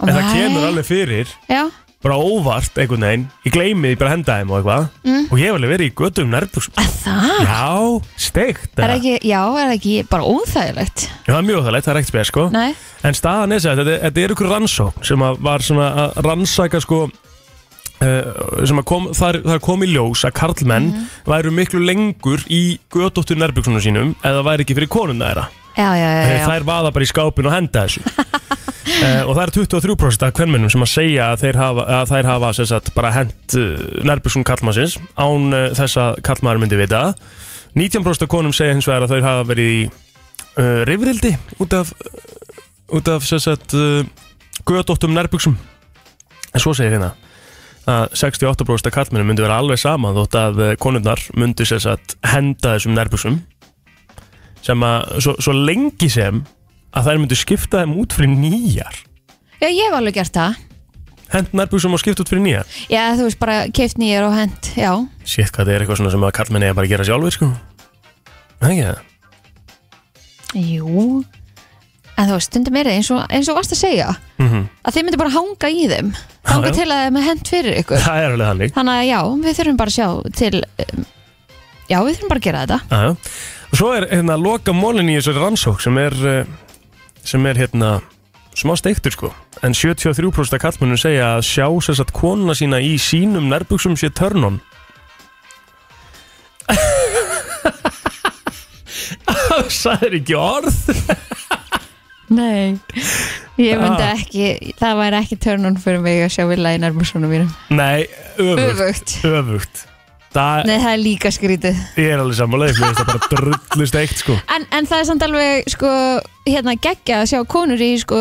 En það
Nei.
kemur alveg fyrir,
Já,
bara óvart einhvern veginn. Ég gleymi því bara að henda þeim og eitthvað. Og ég hef alveg verið í götu um nærbuksum.
að það
Já, steikt.
er
eða?
ekki, Já, er ekki bara óþægilegt
Já, það er mjög óþægilegt, það er ekkert spes, sko.
Nei,
En staðan er sem sagt, þetta, þetta er ykkur rannsókn sem að var svona að rannsaka sko Uh, sem að kom, þar, þar kom í ljós að karlmenn
Mhm.
væru miklu lengur í gödóttu nærbjöksunum sínum eða væri ekki fyrir konuna þeirra
já, já, já,
Þeir-
já.
þær vaða bara í skápin og henda þessu uh, og það er 23% af kvennmennum sem að segja að þeir hafa, að þær hafa sem sagt, bara hent uh, nærbjöksun karlmannsins án uh, þess að karlmaður myndi vita það. 19% af konum segja hins vegar að þau hafa verið í uh, rifrildi út af út af sem sagt uh, gödóttum nærbuksum en svo segir hérna að 68% af kallmennum myndi vera alveg sama þótt að uh, konurnar myndi sem sagt henda þessum nærbuksum sem að svo, svo lengi sem að þær myndi skipta þeim út fyrir nýjar
já, ég hef alveg gert það
hend nærbuksum og skipta út fyrir nýjar
Já, þú veist bara keift nýjar og hent Já,
sétt hvað þetta er eitthvað svona sem að kallmenn eða bara að gera sjálfur sko Er það ekki það
jú En þú veist, stundum er það eins og, eins og varst að segja
Mhm.
að þið myndu bara hanga í þeim hanga
já.
til að þeim er hent fyrir ykkur
það er alveg þannig
Þannig að já, við þurfum bara að sjá til um, Já, við þurfum bara að gera þetta
Aðjá. Og svo er hérna loka mólin í þessari rannsók sem er, eh, sem er hérna smá steiktur sko. En 73% af kallmennum segja að sjá sess að konuna sína í sínum nærbuksum sé <laughs> törnum. Það er ekki orð.
Nei Ég myndi
Ah.
ekki, það væri ekki törnun fyrir mig að sjá vilja í nærmursunum mínum
Nei, öfugt.
Öfugt
Öfugt. Það
Nei, það er líka skrítið
ég er alveg samanlega, ég finnst það bara drullu steikt sko.
en, en það er samt alveg, sko, hérna geggja að sjá konur í, sko,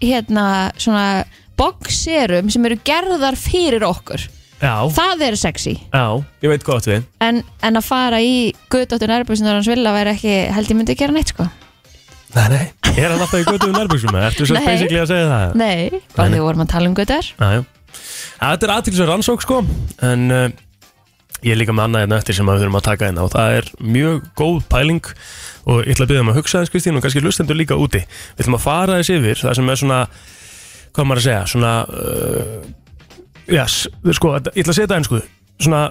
hérna, svona boxerum sem eru gerðar fyrir okkur
Já,
Það er sexy
já, ég veit hvað átt við.
En, en að fara í guðdóttur nærmursunum hans vilja væri ekki, held ég myndi að gera neitt, sko
Nei, nei, er hann alltaf í götuðum nærbuksum? Ertu svo
Nei.
basically að segja það?
Nei, bara
Nei, nei.
því vorum að tala um guðdar
Jájá Þetta er aðtilsverð rannsók sko En uh, ég er líka með annað hérna eftir sem að við þurfum að taka hérna Og það er mjög góð pæling Og ég ætla að byrja um að hugsa þess Kristín Og kannski lustendur líka úti Við ætlum að fara þess yfir Það sem er svona hvað maður að segja svona uh, yes, sko, þetta- ég ætla að segja þetta einsku svona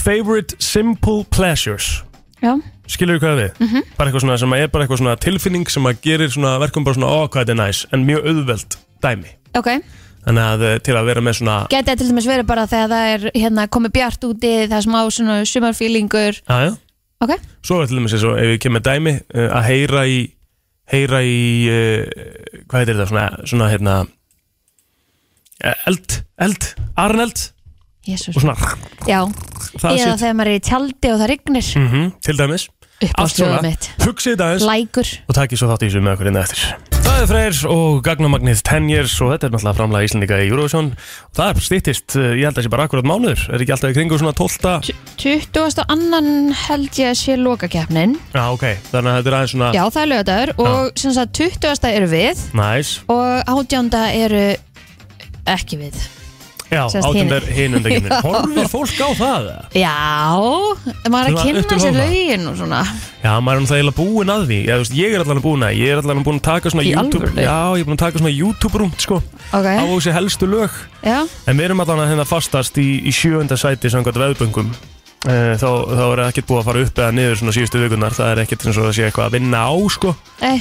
favorite simple pleasures
já,
skilur hvað við mm -hmm. bara eitthvað svona sem er bara eitthvað svona tilfinning sem að gerir svona verkum bara svona ó hvað þetta er næs en mjög auðveld dæmi
ok
þannig að eh, til að vera með svona
Gæti það til dæmis verið bara þegar það er hérna, komið bjart úti, það er smá svona sumarfílingur,
aðja
ok?
svo er til dæmis eins og ef við kemur dæmi eh, að heyra í heyra í uh, hvað heitir þetta svona, svona hérna eh, eld, eld, arneld
Jésús,
og svona
já,
það
eða
sitt
þegar maður er í tjaldi og það rignir
mm til dæmis
upp á
Allt svona.
stöðum mitt,
hugsið þetta aðeins
lækur
og takkið svo þátt í þessu með okkur innan eftir Það er Freyr og Gagnamagnið 10 years og þetta er náttúrulega framlega Íslendinga í Eurovision og það er stýttist, ég held að það sé bara akkurat mánuður er ekki alltaf í kringu svona 12
20. annan held ég að sé lokakeppnin,
Já, ok, þannig að þetta er aðeins svona
já það er lögadagur
Ah.
og sem sagt 20. eru við
Næs,
og 18. eru ekki við
já,
Sérst hinir.
átundar hinn undan
<laughs> Já.
Horfir fólk á það? eða?
Já, maður er að
Svona upp
kynna
til
sér
hófa.
lögin og svona
Já, maður er náttúrulega eiginlega búinn að því Já, þú veist, Ég er allan búinn að, ég er allan búinn að taka svona
Í Eh?
YouTube
alvöru?
Já, ég er búinn að taka svona YouTube-rúmt sko
Ok,
á þessi helstu lög
já,
En við erum allan að hérna fastast í, í sjöunda sæti samkvæmt veðböngum Eh, Þá, þá er ekkert búið að fara upp eða niður svona síðustu vikunar Það er ekkert eins og það sé eitthvað að vinna á sko
ei,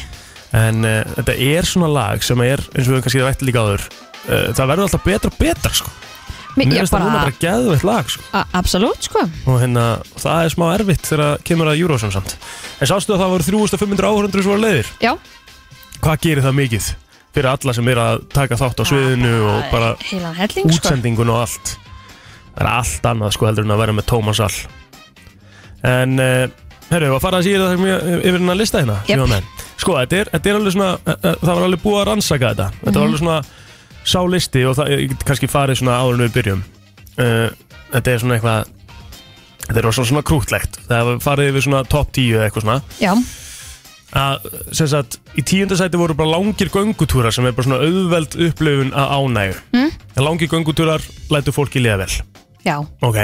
En uh, þetta er svona lag sem er eins og við kannski rætti líka áður uh, Það verður alltaf betra og betra sko
mér
Mér
ég
finnst það núna
bara,
bara geðveitt lag sko
a- absolút sko
Og hérna, það er smá erfitt þegar það kemur að Eurovision samt En sástu að það voru 3500 áhörundur sem voru leiðir
Já,
Hvað gerir það mikið fyrir alla sem er að taka þátt á sviðinu og bara
heilan helling sko
útsendingun og allt það er allt annað sko heldur en að vera með Tómas All en uh, herru, að fara að síða það mjög yfir hennar lista hérna
Jep.
sem ég var með. sko, þetta er, þetta er alveg svona eh, eh, það var alveg búið að rannsaka þetta þetta var alveg svona sá listi og það, ég get kannski farið svona áður en við byrjum uh, þetta er svona eitthvað þetta er svona, svona krútlegt það var farið yfir svona top 10 eða eitthvað svona
Já,
að, sem sagt, í tíundasæti voru bara langir göngutúrar sem er bara svona auðveld upplifun að ánægu
Mm.
en langir göngutúrar lætur fólki liða vel
já,
ok,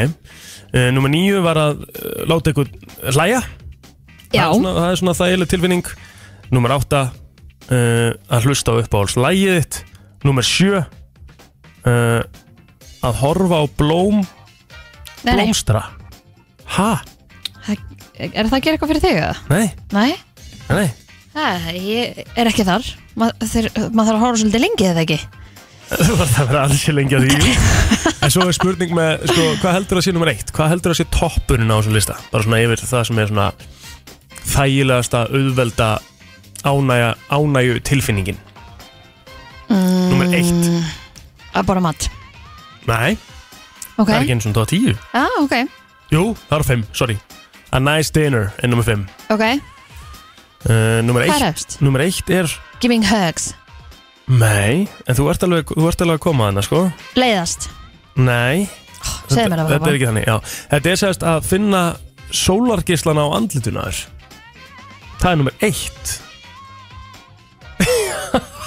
uh, nummer níu var að uh, láta ykkur hlæja
já,
það er svona, það er svona þægileg tilfinning nummer átta uh, að hlusta á uppáhalds lægið þitt nummer sjö uh, að horfa á blóm
nei, nei,
blómstra ha,
er það að gera eitthvað fyrir þig eða?
nei,
Nei,
nei, nei.
það, ég er ekki þar Ma, þeir, Maður þarf að horfa svolítið lengi eða ekki
Þú var það að vera alls í lengi að því
<laughs>
jú. En svo er spurning með sko, Hvað heldur að sé nummer eitt? Hvað heldur að sé toppunin á þessum lista? Bara svona yfir það sem er svona Þægilegasta, auðvelda ánægja, Ánægju tilfinningin
mm,
Númer eitt.
Að bara mat,
Nei,
ok
það er ekki eins og það tíu
Já, ok,
Jú, það eru fimm, sorry A nice dinner er nummer fimm
ok,
uh, Nummer
hvað er
eitt,
efst?
nummer eitt er
Giving hugs,
Nei, en þú ert alveg, þú ert alveg að koma þarna sko
leiðast
Nei
segðu mér það bara.
Þetta er ekki þannig, já Þetta er sérst að finna sólargislan á andlituna þér Það er nummer eitt <laughs>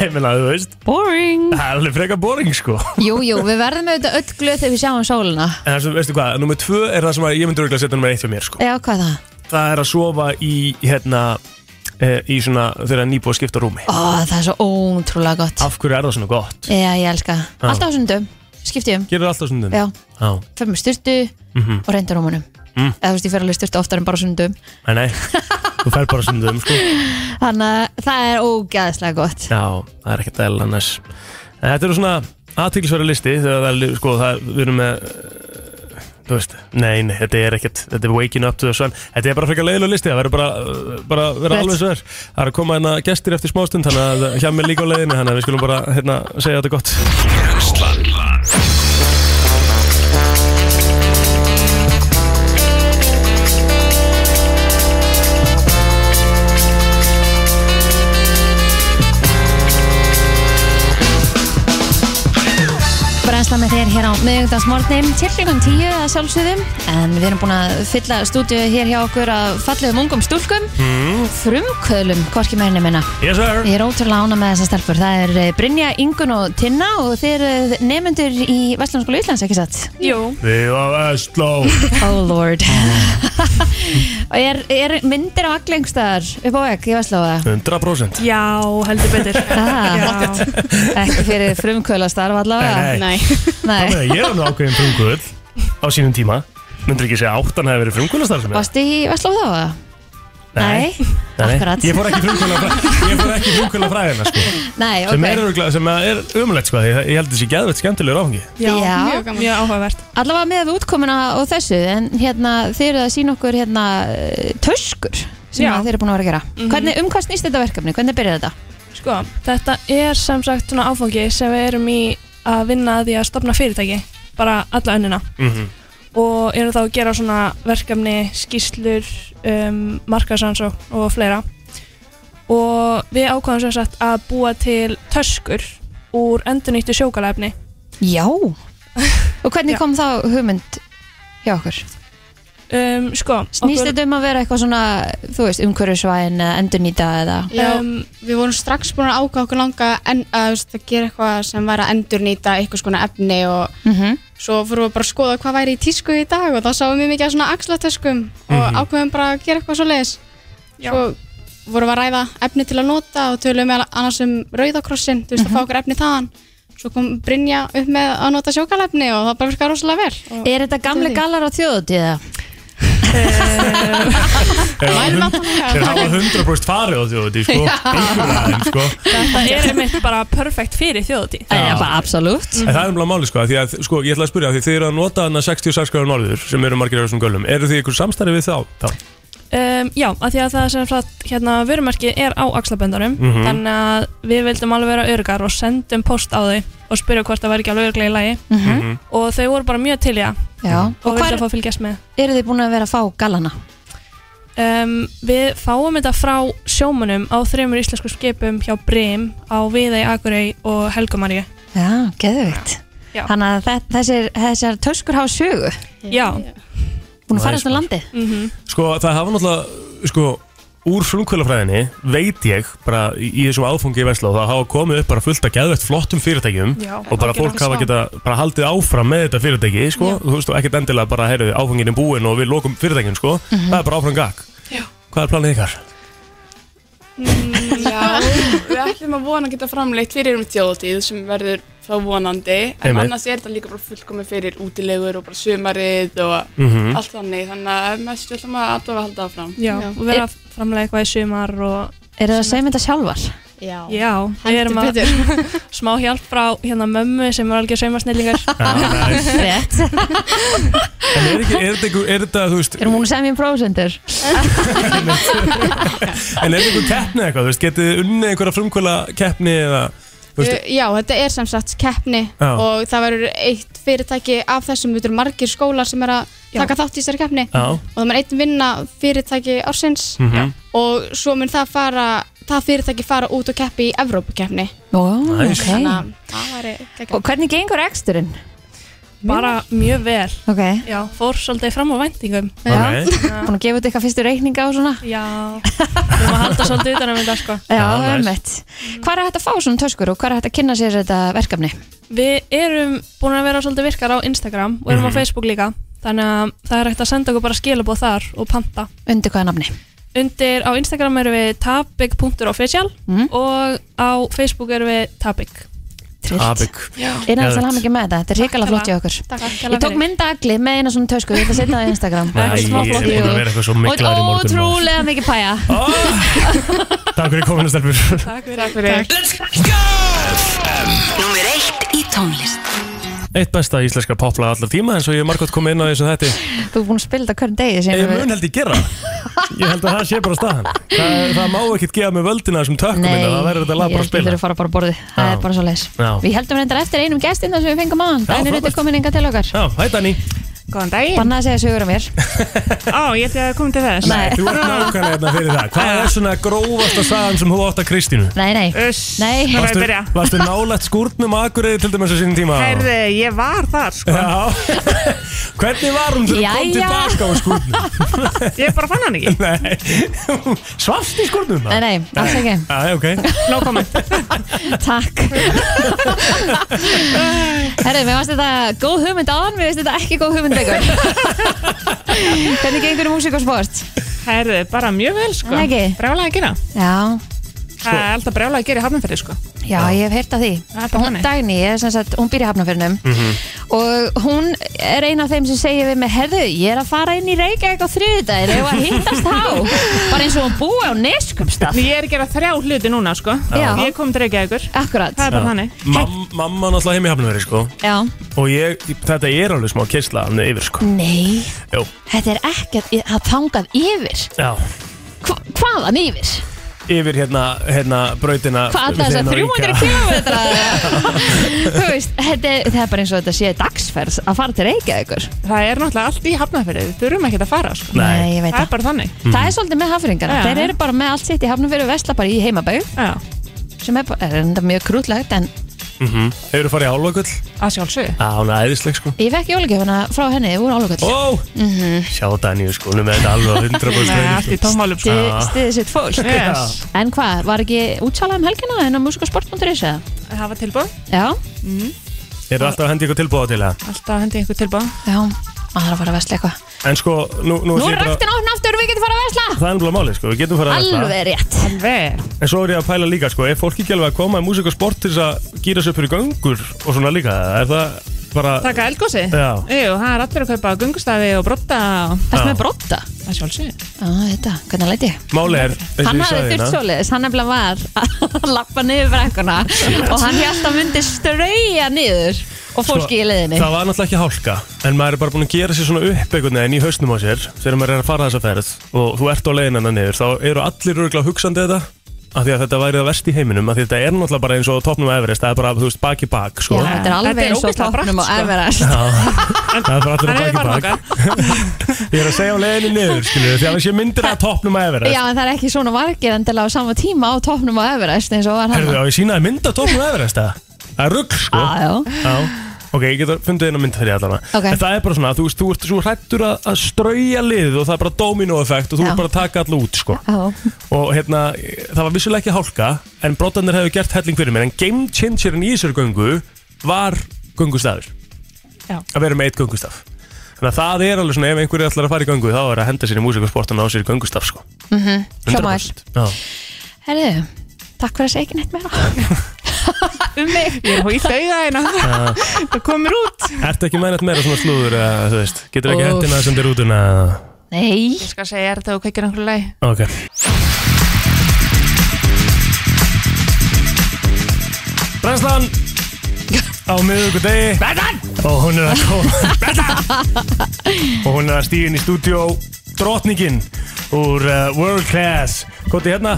Ég meina, þú veist
Boring
Það er alveg freka boring, sko En
Jú, jú, við verðum auðvitað öll glöð þegar við sjáum sólina
það sem, veistu hvað, nummer tvö er það sem að ég myndi auðvitað að setja nummer eitt fyrir mér, sko
Já, hvað er það?
Það er að sofa í, hérna eh, Í svona, þegar nýbúið að skipta rúmi
Ó, það er svo ótrúlega gott
Af hverju er það svona gott?
Já, ég elska það
Já.
Alltaf á sundum, skipti um
Gerir alltaf svona
Já,
Já.
fer með styrtu
Mhm.
og reyndur rúmunum
Mm.
Eða þú veist, ég fer alveg styrtu oftar en bara á sundum
Nei, nei, þú fer bara svona um, sko
Þannig að það er ógæðslega gott
Já, það er ekkert eðla næs En þetta eru svona aðtýrlisverða listi þegar það er, li- sko, það, við erum með eh, þú veist, nei, nei, þetta er ekkert þetta er waking up to the sun, þetta er bara frekar leiðilega listi, það verður bara, eh, bara að vera
Rétt.
alveg sver það er að koma hérna gestir eftir smástund þannig að hjá mér líka á leiðinu, þannig að við skulum bara hérna, segja þetta gott
Brennslan
Brennslan veistla með þér hér á miðugdagsmorgnin til klukkan 10 að sjálfsögðum en við erum búin að fylla stúdíu hér hjá okkur að fallegum ungum stúlkum mm. frumkölum, hvorki meirinni minna
Yes sir
Ég er ótrúlega ána með þessar stelpur það er eh, Brynja, Ingun og Tinna og þeir eru nefnendur í Vestlandskóla Íslands, ekki satt?
Jú,
Við á Vestló
Oh lord <laughs> og er, er myndir af allengstaðar upp á vekk í Vestlóða?
100%
já,
<laughs>
heldur betur
Ah,
<laughs> Já,
ekki fyrir frumkvöla starf allavega
Nei, nei.
nei
Þá
Ah, Nei.
með að Ég er alveg ákveðin frumkvöld á sínum tíma Myndur ekki segja að áttan hefði verið frumkvöldastar sem
Varstu í Vestlóða þá? akkurat.
Ég fór ekki frumkvöla fræðina sko,
Nei,
sem,
ok
er, örugglega- sem er umlegt sko, því það- Ég held þessi geðveitt skemmtilegur áfengi
Já,
Já.
mjög gaman Mjög áhugavert
Allavega með við útkomuna og þessu en hérna þeir eru að sína okkur hérna eh, töskur sem
Já. Mhm.
að þeir eru búin að vera að gera Hvernig, um hvað snýst þetta verkefni? Hvernig byrjar þetta?
Sko, þetta er sem sagt svona áfangi sem við erum í að vinna að því að stopna fyrirtæki bara alla önnina
mm -hmm.
og erum þá að gera svona verkefni, skýslur, um, markasansó og fleira og við ákvæðum sem sagt að búa til töskur úr endurnýttu sjókalefni
Já Og hvernig
Já.
kom þá hugmynd hjá okkur?
um, sko,
Snýst þetta um að vera eitthvað svona þú veist, umhverfisvæðin eða endurnýta eða
Já,
um,
við vorum strax búin að ákvæða okkur langa en, að, veist, að gera eitthvað sem væri að endurnýta eitthvað skona efni og
mm
svo fórum við bara að skoða hvað væri í tísku í dag og þá sáum við mikið af svona axlatöskum
Mhm.
og ákveðum bara að gera eitthvað svo leiðis
Já. <laughs>
svo vorum við að ræða efni til að nota og tölum við annars um rauðakrossin þú veist
Mhm.
að fá okkur efni þaðan svo kom Brynja upp með að nota sjókalefni og það bara virkaði rosalega vel og
Er þetta gamle gallar á þjóðutíða?
væri náttúrulega
Þeir hafa 100% farið á þjóði sko, einhverja aðeins sko.
það er einmitt bara perfekt fyrir þjóðutíð
Já, bara absolutt
En það er umlað máli sko, af því að, sko, ég ætla að spyrja af Því þið eru að nota hana 66 gráður norður sem eru margir af þessum gölum, eru þið ykkur samstarfi við þá? þá?
um, Já, af því að það sem sagt hérna vörumarki er á axlaböndunum
Mhm.
þannig að við vildum alveg vera örgar og sendum post á þau og spyrja hvort það væri ekki alveg örglega í lagi
Hm?
Mhm.
og þau voru bara mjög til í það
Mhm. Já
og,
Og
vildu
hvar
að fá að fylgjast með
eru þið búin að vera að fá gallana?
Um, við fáum þetta frá sjómanum á þreymur íslensku skipum hjá Brim á Viðei, Akurey og Helgumaríu.
Já, geðvikt
Já.
Þannig að þe- þessir, þessar töskur hafa sögu
Já,
Búin að
Nice,
fara svona
maður.
landið
Sko, það hafa náttúrulega, sko, úr frumkvölafræðinni veit ég bara í, í þessum áfangi í Vestló það hafa komið upp bara fullt að geðvett flottum fyrirtækjum
Já,
og bara fólk hafa geta bara haldið áfram með þetta fyrirtæki, sko, þú veist, og ekkert endilega bara, heyrðu, áfangin er búin og við lokum fyrirtækjum, sko,
Mhm.
það er bara áfram gag.
Já.
Hvað er planið ykkar?
Já, við ætlum að vona að geta framleitt fyrir um þjóðatíð sem verður þá vonandi en
Einmitt.
annars er þetta líka bara fullkomið fyrir útilegur og bara sumarið og
<laughs>
Mhm.
allt þannig þannig að mest ætlum að alltaf að halda það fram
já, og vera að framlega eitthvað í sumar og
Eru það að segja þetta sjálfar?
Já,
já, við erum að
heldur betur
smá hjálp frá hérna mömmu sem er alveg saumasnillingar.
<laughs> Ah, nice.
<laughs> Rétt
En er, ekki, er, þetta, einhver- er þetta, þú veist,
Erum hún að segja mér prósendur?
en er þetta einhver keppni eða eitthvað, þú veist, getið þið unnið einhverja frumkvöla keppni eða, þú veist,
Uh, Já, þetta er sem sagt keppni
Já.
og það verður eitt fyrirtæki af þessum, þetta eru margir skólar sem er að
Já.
taka þátt í þessari keppni
já,
og það mun einn vinna fyrirtæki ársins
mhm,
og svo mun það fara það fyrirtæki fara út og keppi í Evrópukeppni
Ó,
Nice.
ok
þannig að það væri geggjað.
Og hvernig gengur eksturinn?
Bara mjög vel.
Ok
Já, fór svolítið fram á væntingum.
Já.
ok.
Búin að gefa út eitthvað fyrstu reikninga og svona?
Já, við erum að halda svolítið utan að mynda sko.
Já,
nice.
ömmett Hvað er hægt að fá svona töskur og hvað er hægt að kynna sér þetta verkefni?
Við erum búin að vera svolítið virkar á Instagram og erum
Mhm.
á Facebook líka, þannig að það er hægt að senda okkur bara skilabóð þar og panta.
Undir hvaða nafni?
Undir á Instagram erum við tabig.official
Mm.
og á Facebook erum við tabig.
Trillt
Abik.
Einar
Geðveikt.
það hann ekki með þetta, þetta er reikala flott hjá okkur
Takk
Ég tók mynda agli með eina svona tösku, ég ætla að setja það á Instagram
Æ, ég er
Smá flott,
búin að
jú.
vera eitthvað svo
Og
miklaður í morgun maður.
ótrúlega mikið pæja
Ah! Takk fyrir kominu stelpur
Númer eitt í tónlist
Eitt besta íslenska popla allar tíma eins og ég er margótt komið inn á þessu þetta
Þú er búin að spila þetta hvern degi
Ég
síðan við-
mun held ég gera það Ég held að það sé bara staðan Það, það má ekkert gefa mig völdina þessum tökum minna Það verður þetta lag bara að
Ég
spila
ætlum að fara bara að borði, það
Já.
er bara svo leis
Já.
Við heldum reyndar eftir einum gestin þar sem við fengum aðan
Já,
Dænir út er
frábært.
komin enga til okkar
Já, hæ Dani
Góðan daginn.
Banna að segja sögur á mér
Ó, ég ætti að koma til þess.
Nei.
Þú ert nákvæmlega hérna fyrir það Hvað er svona grófasta sagan sem þú átt að Kristínu?
Nei, nei,
Uss,
Nei.
nú er ég að byrja.
varstu nálægt skúrnum akureyri til dæmis á sínum tíma?
Herði, ég var þar, sko.
Já, <laughs> hvernig var hún þegar hún
Jæja.
kom tilbaka á
<laughs>
skúrnum?
Ég bara fann hann ekki.
Nei, svafst í skúrnum?
nei, nei, alls ekki
Æ, ok
No comment.
<laughs> Takk Herru, mér varst þetta góð hugmynd án Mér finnst þetta ekki góð hugmynd vegur
<laughs>
Hvernig gengur í músík og sport?
Herði, bara mjög vel, sko.
Nei, ekki.
Brjálega að gera.
Já,
Það er alltaf brjálega að gera í hafnumferði, sko.
já, ég hef heyrt af því
Það er bara
Hún
hannig.
Dagný, er, sem sagt, hún býr í Hafnarfjörnum og hún er ein af þeim sem segir við mig, herðu, ég er að fara inn í Reykjavík á þriðudagir, ég var að hittast þá bara eins og hún búi á Neskupstað
Ég er að gera þrjá hluti núna, sko.
Já.
Ég kom til Reykjavíkur.
Akkurat,
Það er bara hannig.
Mam, Mamma náttúrulega heim í hafnaveri sko
já
Og ég, þetta er alveg smá kyrsla hann yfir sko
Nei,
Jó,
þetta er ekkert í- að þangað yfir
já
Hva, Hvaðan yfir?
Yfir hérna, hérna, brautina
Hvað alltaf þessar 300 <laughs> kilometra? Þú veist, þetta, er- það er bara eins og þetta sé dagsferð að fara til Reykjavíkur
Það er náttúrulega allt í hafnumferði. Við þurfum ekki að fara, sko.
Nei,
ég veit
Það er
það
bara þannig.
Það er svolítið með hafringarna,
Já.
þeir eru bara með allt sitt í hafnum fyrir vesla bara í heimabæu
Já,
sem er, bara- er enda mjög krútlegt en
hefur Mhm. farið í álfagull
að sjálfsögðu.
Já, hún er æðisleg sko
ég fekk jólagjöfuna frá henni úr álugull
Ó, sjá Daníu sko, hún er með þetta alveg 100%
Það er
hreinu,
allt í
sko.
tómálum, sko.
<laughs> Já.
stiðið sitt fólk
Yes.
en hvað, var ekki útsalað um helgina en á musikasport.is eða?
Það var tilbúð.
Já,
Er það alltaf að hendi ykkur tilbúða til það?
Alltaf hendi ykkur tilbúð.
já, maður þarf að fara að vesla eitthvað
En sko, nú, nú,
Nú
ætla
er
ég bara-
rættin ofn aftur, við getum fara að vesla
Það er náttúrulega málið sko, við getum farið að
Alveg rétt
Alveg.
En svo er ég að pæla líka sko, er fólk ekki alveg að koma í músík og sport til þess að gýra sér fyrir göngur og svona líka? Er það bara...
Taka eldgósi?
Já.
Jú, það er allir að kaupa gungustafi og brotta og
Ertu
Já.
með brotta?
það sjálfsög.
Já, þetta, hvernig leiti ég?
Máli er, eins og
Hann
ég
hafði
sagði
þurft
hérna,
svoleiðis, hann nefnilega var að <laughs> lappa niður brekkuna og hann held að myndi strauja niður og
Sko,
fólki í leiðinni
það var náttúrulega ekki hálka, en maður er bara búin að gera sér svona upp einhvern veginn í hausnum á sér þegar maður er að fara þessa ferð og þú ert á leiðin hennar niður, þá eru allir örgulega hugsandi þetta af því að þetta væri það verst í heiminum af því að þetta er náttúrulega bara eins og topnum á Everest, það er bara, þú veist, bak í bak,
Já,
sko.
þetta er
Þetta
alveg
er
eins og
ógeðslega bratt,
tóknum og
sko.
erverðast
Það er bara allir
Þannig
að
við
bak
varum
í bak.
okkar.
<laughs> Ég er að segja á leiðinni niður, skilju, því að sé myndir að topnum að Everest.
Já, en það er ekki svona vargir endilega á sama tíma á toppnum á Everest eins og var hann
Herðu, á ég sínaði mynd af Topnum Everest eða? Það er rugg, sko
Já, já.
Já. Ok, ég get að fundið einu mynd fyrir ég allan
Ok.
En það er bara svona, þú veist, þú ert svo hrættur að, að strauja lið og það er bara dominoeffekt og þú
Já.
ert bara að taka all út, sko
Já,
Og hérna, það var vissulega ekki hálka en brotarnir hefur gert helling fyrir mér en game changerin í þessari göngu var göngustafur
Já.
Að vera með eitt göngustaf Þannig að það er alveg svona, ef einhverju ætlar að fara í göngu þá er að henda sér í músikasportan á sér í göngustaf, sko
Mm-hmm. hljómaður
100%. Já.
Herðu, takk fyrir að segja ekki neitt meira Um mig
Ég er hóið dauða eina. <laughs> Það komur út.
Ertu ekki með nætt meira svona slúður eða þú veist, getur ekki
Úff.
hendina sem þér út unna
Nei,
Ég skal segja þér þetta og kveikir einhverju lei.
Ok, Brennslan á miðugudegi Brennslan! Og hún er að koma Brennslan! Og hún er að stíðin í stúdíó Drottningin úr uh, World Class Koti hérna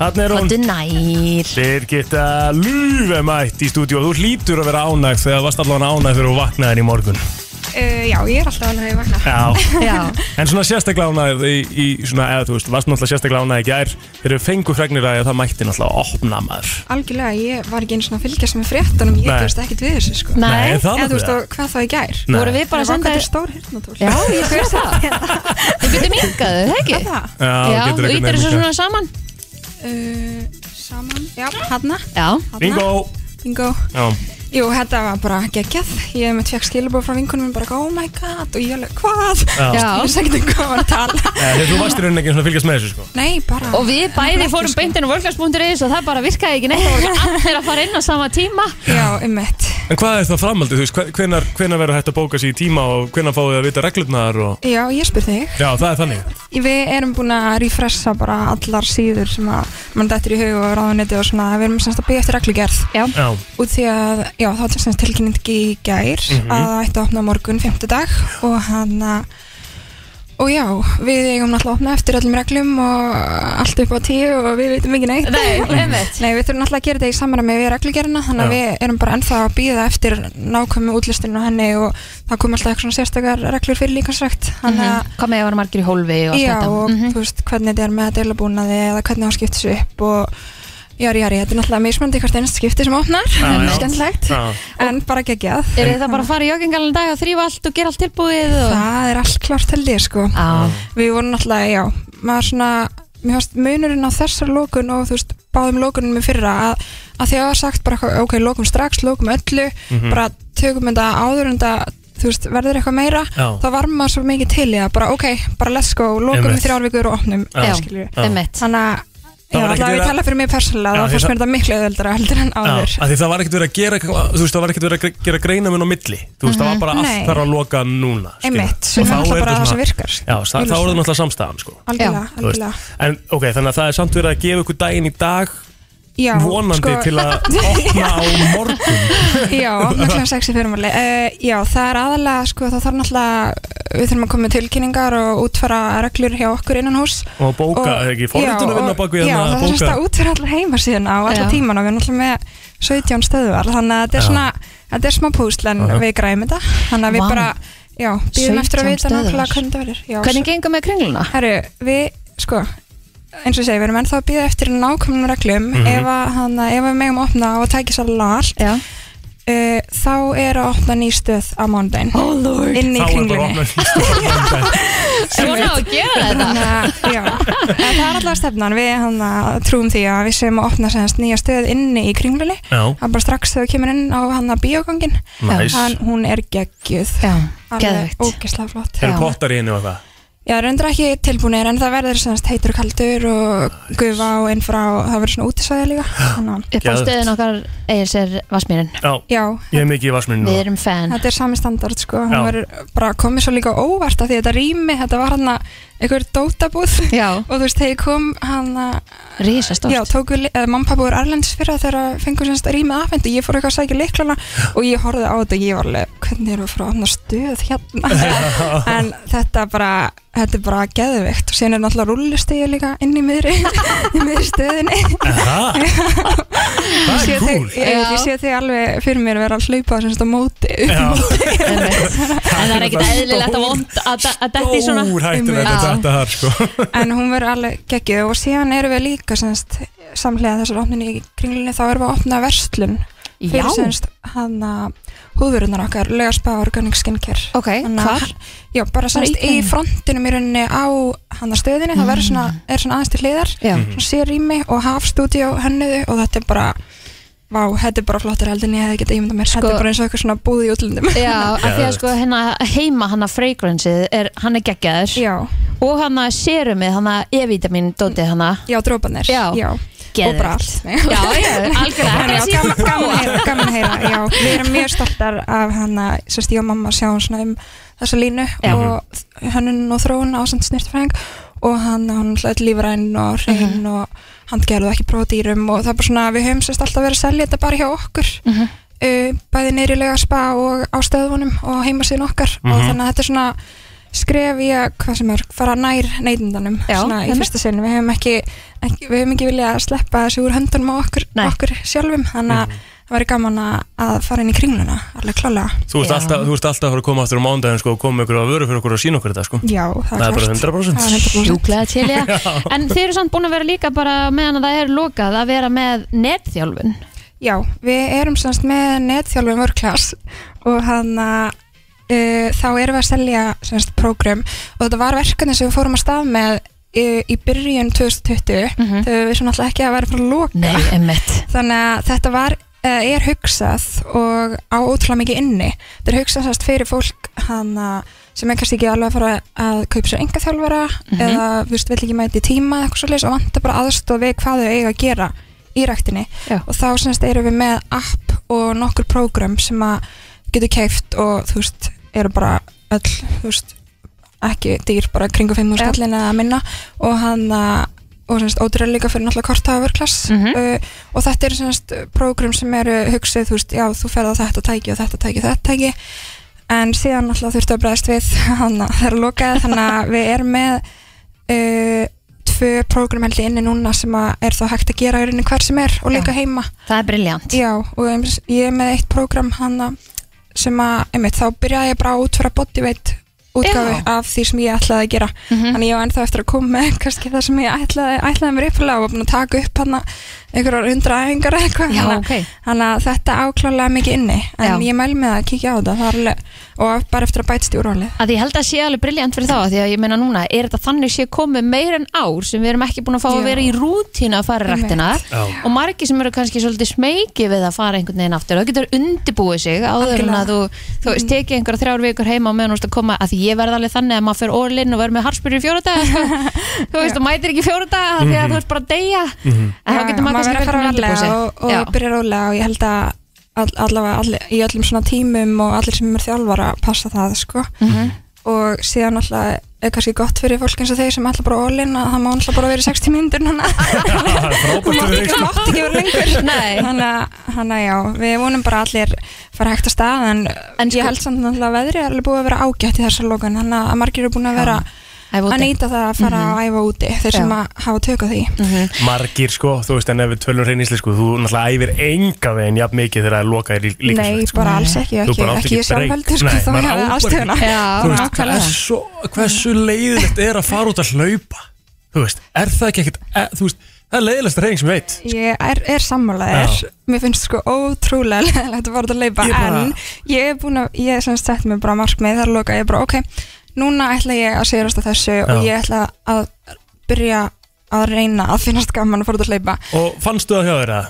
Þarna er hún
áttu nær
Birgitta Lúfemætt í stúdíó Þú hlýtur að vera ánægt þegar þú varst allavega ánægt fyrir að vakna þér í morgun
Eh, já, ég er alltaf alveg vakna.
Já
Já,
En svona sérstaklega ánægð í, í svona, eða þú veist, varst náttúrulega sérstaklega ánægð í gær Þeir eru fengu fregnir að það mætti náttúrulega að opna maður
Algjörlega, ég var ekki einu svona að fylgjast með fréttunum, ég
Nei.
veist ekkert við þessu sko.
nei,
það
Eða þú veist,
náttúrulega
og hvað þá í gær?
Nei.
voru við bara að senda
þér
þér
stór hirtnatól.
Já, ég fyrir það
<laughs>
Við getum yngað þau, það ekki?
Já,
Já,
getur
þú ítir
einhvern veginn
þessu
líka.
svona saman
Uh, saman, já, hana,
Já,
hana.
Bingo
Bingo.
Já,
Jú, þetta var bara geggjað. Ég mitt fekk skilabóð frá vinkunum minn bara, oh my god, og ég alveg, hvað?
já.
Já.
Ég veist ekkert um hvað var að tala.
Eh, Þegar þú varst í rauninni ekki svona að fylgjast með þessu sko
Nei, bara.
og við bæði
Ekki,
fórum
sko.
beintin á vörglags.is og það bara virkaði ekki neitt Það voru bara allir að fara inn á sama tíma
Já, um mitt.
En hvað er það framhaldið, þú veist, hve- hvenær, hvenær verður hægt að bóka sér í tíma og hvenær fáið þið að vita reglurnar og
Já, ég spyr þig.
Já, það er þannig
Við erum búin að refressa bara allar síður sem að mann dættir í hug og ráðunetti og svona. Við erum semst að byggja eftir reglugerð.
Já,
Já,
út því að, já, þá var semst tilkynning í gær að það ætti að opna á morgun, fymtudag og hann að Og já, við eigum náttúrulega að opna eftir öllum reglum og allt upp á tíu og við veitum ekki neitt.
Nei, einmitt.
<laughs> Nei, við þurfum náttúrulega að gera þetta í samræmi við reglugerina, þannig að
Já.
við erum bara ennþá að býða eftir nákvæmu útlistinu og henni og það kom alltaf eitthvað svona sérstakar reglur fyrir líkansrækt. Þannig að,
Mhm. Hvað með að vera margir í hólfi og allt
já,
þetta
og
Mhm.
þú veist, hvernig þetta er með deilabúnaði eða hvernig það skiptis upp og jari, jari, þetta er náttúrulega mismöndi hvert einst skipti sem opnar,
Já,
það
já.
er skemmtilegt,
Já.
en bara geggjað.
Er það bara að fara í joggingalann dag og þrýfa allt og gera allt tilbúið og...
Það er allt klart held ég, sko.
Á,
við vorum náttúrulega, já, maður svona mér fannst munurinn á þessar lókun og þú veist, báðum lókunum í fyrra að, að því að það var sagt bara, eitthvað, ok, lókum strax lókum öllu,
Mhm.
bara tökum þetta áður en þetta, þú veist, verður eitthvað meira
Já.
þá var maður svo mikið til í það bara, ok, bara let's go, lókum í
Einmitt.
þrjár vikur og opnum,
Já.
Já.
skilju
Já.
einmitt.
þannig að, já,
Það var
alltaf
ekkert
að
verið
ég
að-
tala fyrir mig persónulega,
Já,
þá
því
fannst
það-
mér þetta miklu öðuldra heldur en
Já,
áður
af því það var ekkert verið að gera eitthvað- þú veist, það var ekkert verið að gre- gera greinaminn á milli þú veist, það var bara allt
Mhm. Nei.
þarf að loka núna skilur.
einmitt,
Og
sem er
þá
alltaf bara
þetta
það sem
svona- Já,
virkar
það- þá er það náttúrulega samstæðan sko.
algjörlega,
Þú veist.
algjörlega
En ok, þannig að það er samt verið að gefa ykkur daginn í dag
Já,
vonandi
sko-
til að opna á morgun
<laughs> Já, opna kljóðan 6 í fyrirmáli uh, Já, það er aðalega, sko, það þarf náttúrulega við þurfum að koma með tilkynningar og útfæra reglur hjá okkur innan hús
og bóka,
Og-
eða ekki,
Já,
forritinu vinna
og-
bak við
Já,
hérna
það
að
þarf semst
bóka
að útfæra allar heimasíðuna
Já.
og allar tíman og við erum náttúrulega með 17 stöðvar þannig að þetta er
Já.
svona, þetta er smá púsl en
Aha.
við græmum þetta þannig að við
Vá.
bara, já, býðum eftir
17
að vita
stöðvar.
nákvæmlega hvernig það verður Já,
Hvernig gengur með kringluna?
Herru, við, sko, eins og ég segi, við erum ennþá að býða eftir nákvæmlega reglum mm
Mhm.
-hmm. ef, að- þannig að- ef við megum opna og tækja sér allt
Já.
uh, þá er að opna ný stöð á mánudaginn
Oh lord.
inn
þá er
í
bara
kringlunni
<laughs>
opna
Svona á að gera þetta.
þannig að já, en það er allavega stefnan við hann trúum því að við séum að opna semst nýja stöð inni í kringlunni
Já,
það er bara strax þegar við kemur inn á hann að bíogangin
næs
hann, hún er geggjuð
Já,
alveg
geðvegt.
ógeðslega flott
Er
Já.
pottar í henni og eitthvað?
já, reyndur ekki tilbúinir en það verður semst heitur og kaldur og gufa og innfra og það verður svona útisvæði líka þannig að
Upp á
Geðvegt.
stöðin okkar eigir sér Vassmýrin.
Já,
já,
ég er mikið í vasminu
Við
núna
erum fan.
Þetta er sami standard sko, hann
Já.
verður bara komið svo líka á óvart af því þetta rými, þetta var hann að einhver dótabúð <laughs>
Já,
og þú veist, þegar ég kom hérna, hann að,
risastórt.
já, tóku mannpappu úr Erlends fyrir að þeirra fengur semst rýmið afhengt og ég fór eitthvað að sækja leiklana og ég horfði á þetta og ég var alveg, hvernig eru frá hann að stuð hérna
<laughs>
en þetta bara, þetta er bara geðveikt og síðan er náttúrulega rullustegi líka inn í miðri, <laughs> í miðri stöðinni
Aha. Það
Ég
er
sé þig- <laughs>
cool
ég,
Já.
ég sé þig alveg fyrir mér vera að hlaupa semst á móti
Já.
Einmitt. En það er ekkit eðlilegt að vond að að detti svona.
Stór hættilegt að
Já.
þetta þar sko
<laughs> en hún verður alveg geggið og síðan erum við líka semst, samlega þessar opnin í kringlunni þá erum við að opna verslun
Já,
fyrir semst hann að húðurinnar okkar, lögarspa og organic skincare
ok,
Þannig að-
hvar?
já, bara semst
í
í
þeim? Mhm.
frontinum í rauninni á hann að stöðinni, það verður svona, er svona aðeins til hliðar
Já, Mhm.
svona sér rými og hafstúdíó hennuðu og þetta er bara vá, þetta er bara flottir heldur en ég hefði getað ímyndað mér
Sko-
þetta er bara eins og eitthvað svona búð í útlundum
<laughs> já, af því að
Geðvegt.
sko hérna heima hann að fragranceið, er, hann er geggjaður
já,
og hann að serumið, hann að e-vitamin dótið hann að
já, drópanir
Já.
og bara allt Nei.
Já, já, algjörlega,
En
þetta
já,
er síðan
gaman, gaman, að heyra, gaman að heyra, já, við erum mjög stoltar af hana, sérst ég og mamma sjáum svona um þessa línu
Já.
og hönnun og þróun ásand snirtfræðing og hann, hann hlut lífræn og hrein
Mhm.
og handgerð og ekki prófa dýrum og það er bara svona, við höfum sérst alltaf verið að selja þetta bara hjá okkur
Mhm.
uh, bæði neyrilega spa og á stöðunum og heimasíðan okkar og
Mhm.
þannig að þetta er svona skref í að, hvað sem er, fara nær neytundanum,
Já,
svona í
einmitt.
fyrsta sinn við höfum ekki, ekki, við höfum ekki viljað að sleppa þessu úr höndunum á okkur,
Nei.
okkur sjálfum þannig að það væri gaman að að fara inn í kringluna, alveg klálega
Þú ert
Já.
alltaf, þú ert alltaf að fara að koma aftur á mándaginn sko og koma ykkur á vöru fyrir okkur og sína okkur þetta sko
Já, það
Það
er
er bara
klart
100%.
Það er 100%.
sjúklega til ég en þið eru samt búin að vera líka bara meðan að það er lokað að vera með netþjálfun
Já, við erum semst með netþjálfum vörklass og hann að uh, þá erum við að selja semst prógram og þetta var verkefni sem við fórum að stað með uh, í byrjun 2020
Mhm.
þegar við sem alltaf ekki að vera frá loka
nei, emmitt
þannig að þetta var eh, er hugsað og á ótrúlega mikið inni þetta er hugsað sérst fyrir fólk hana, sem er kannski ekki alveg að fara að kaupa sér enga þjálfara
Mhm.
eða þú veist, vill ekki mæti tíma eða eitthvað svolítið og vantar bara aðstof við hvað þau eiga að gera í ræktinni
Já.
og þá semst erum við með app og nokkur prógram sem að getur keift og þú veist, eru bara öll, þú veist ekki dýr, bara kringu 5.000
Já.
skallin eða minna og hann uh, og semst ótrúlega líka fyrir náttúrulega kortafurklass mm
Mhm.
uh, og þetta eru semst prógrum sem eru hugsið, þú veist, já, þú ferð á þetta tæki og þetta tæki og þetta tæki en síðan alltaf þurfti að bregðast við <laughs> þannig að það er lokaði þannig
<laughs>
að við erum með uh, tvö prógram held ég inni núna sem að er þá hægt að gera í rauninni hvar sem er og líka heima
Það er briljant
Já, og eins- ég er með eitt prógram hana sem að, einmitt, þá byrjaði ég bara að útfæra bodyweight útgáfi
Já. Mhm.
af því sem ég ætlaði að gera þannig ég var ennþá eftir að koma með <laughs> kannski það sem ég ætlaði, ætlaði mér uppfælega og var búin að taka upp hana einhverjar hundra æfingar eða eitthvað
Já,
Þannig að-
ok
þannig að þetta áklálega mikið inni en
Já.
ég mæl með að kíkja á þetta það er alveg, og bara eftir að bætst í úrvalið
að ég held að sé alveg briljant fyrir þá af því að ég meina núna, er þetta þannig sé komið meir en ár sem við erum ekki búin að fá að
Já.
vera í rútínu að fara í
Einmitt.
rættina og margi sem eru kannski svolítið smeiki við að fara einhvern veginn aftur, þá getur undibúið sig áður en
Algjörlega. Mm-hmm.
að þú, þú veist, tekið einhverja þrjár vikur heima og meðan þú ert að koma að því ég verð alveg þannig að maður fer orlinn og verð með harspyrir í fjóra daga sko.
<laughs>
þú veist, þú mætir ekki í fjóra daga af því að þú ert bara að deyja en þá
Já,
getur maður
verður
kannski
að fara
verið
varlega
undibúið sig
og,
Já.
og byrja rólega og ég held að all, allavega all, í öllum svona tímum og allir sem er þjálfara passa það sko
Mhm.
og síðan alltaf er kannski gott fyrir fólk eins og þeir sem alltaf bara all-in að það má alltaf bara vera í 60 mínútur þannig að
Frábært fyrir þig,
það
sko.
mátt ekki vera lengur
Nei.
þannig að- þannig að já, við vonum bara allir fara hægt að stað en,
En
ég
sko-
held samt alltaf að veðrið er alveg búið að vera ágætt í þessar lokun þannig að margir eru búin að vera
Æfa úti. Mhm.
að nýta það að fara að æfa úti þeir sem að hafa tök á því Mhm.
Margir sko, þú veist, en ef við tölum hrein ísli sko, þú náttúrulega æfir enga veginn jafn mikið þegar það loka er í sko. líka
Nei, bara alls ekki,
Þú
ekki,
bara átt
ekki
ekki
ég sjálf
break.
heldur sko,
Nei,
þá
maður
ég
á
hefði
bara
ástöðuna
Já,
Þú veist,
nákvæmlega.
hversu, hversu
Mhm.
leiðilegt er að fara út að hlaupa Þú veist, er það ekki ekkert e, Þú veist, það er leiðilegast reyning sem ég veit
Ég er, er sammálaðir,
Já.
mér finnst sko ótrúlega <laughs> leðilegt að fara út að leipa
Ég bara-
en ég er búin að, ég er sem sagt mér bara markmið þar að loka, ég er bara ok núna ætla ég að segjast á þessu og ég ætla að byrja að reyna að finnast gaman að fara út að leipa
Og fannstu það hjá þér að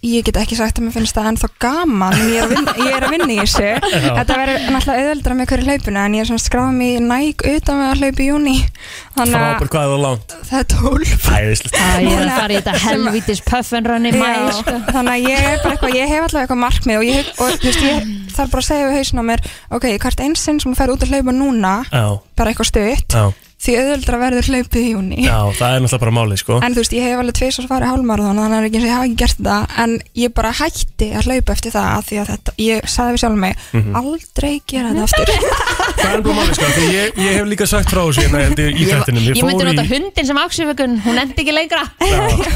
ég get ekki sagt að mér finnst það ennþá gaman en ég er að vinna, ég er að vinna í
<laughs>
þessu þetta verður náttúrulega auðveldra með hverju hlaupinu en ég er sem skráð mér næg utan með að hlaupi í júni þannig að
frábær hvað er það langt
það er tólf
Æðislegt
Æ, ég er að fara í
<laughs>
þetta helvítis puffenrönni
Já,
mæl
sko. þannig að ég er bara eitthvað, ég hef allavega eitthvað markmið og ég, og, þú veist, ég þarf bara að segja við hausin á mér, ok, hvert einsinn sem að fer út að hlaupa núna,
Já,
bara eitthvað stutt,
já,
því auðvöldra verður hlaupið í júni.
já, það er náttúrulega bara málið sko
En þú veist, ég hef alveg tvis að svara hálmarathon, þannig að það er ekki eins og ég hafa ekki gert þetta, en ég bara hætti að hlaupa eftir það, af því að þetta, ég sagði við sjálf mig,
Mhm.
aldrei gera þetta
<laughs>
aftur.
Það er bara málið sko, því ég, ég hef líka sagt frá þessu hérna held ég, í
Ég,
þættinum
ég myndi nota hundin sem áksifökun, hún endi ekki lengra
<laughs>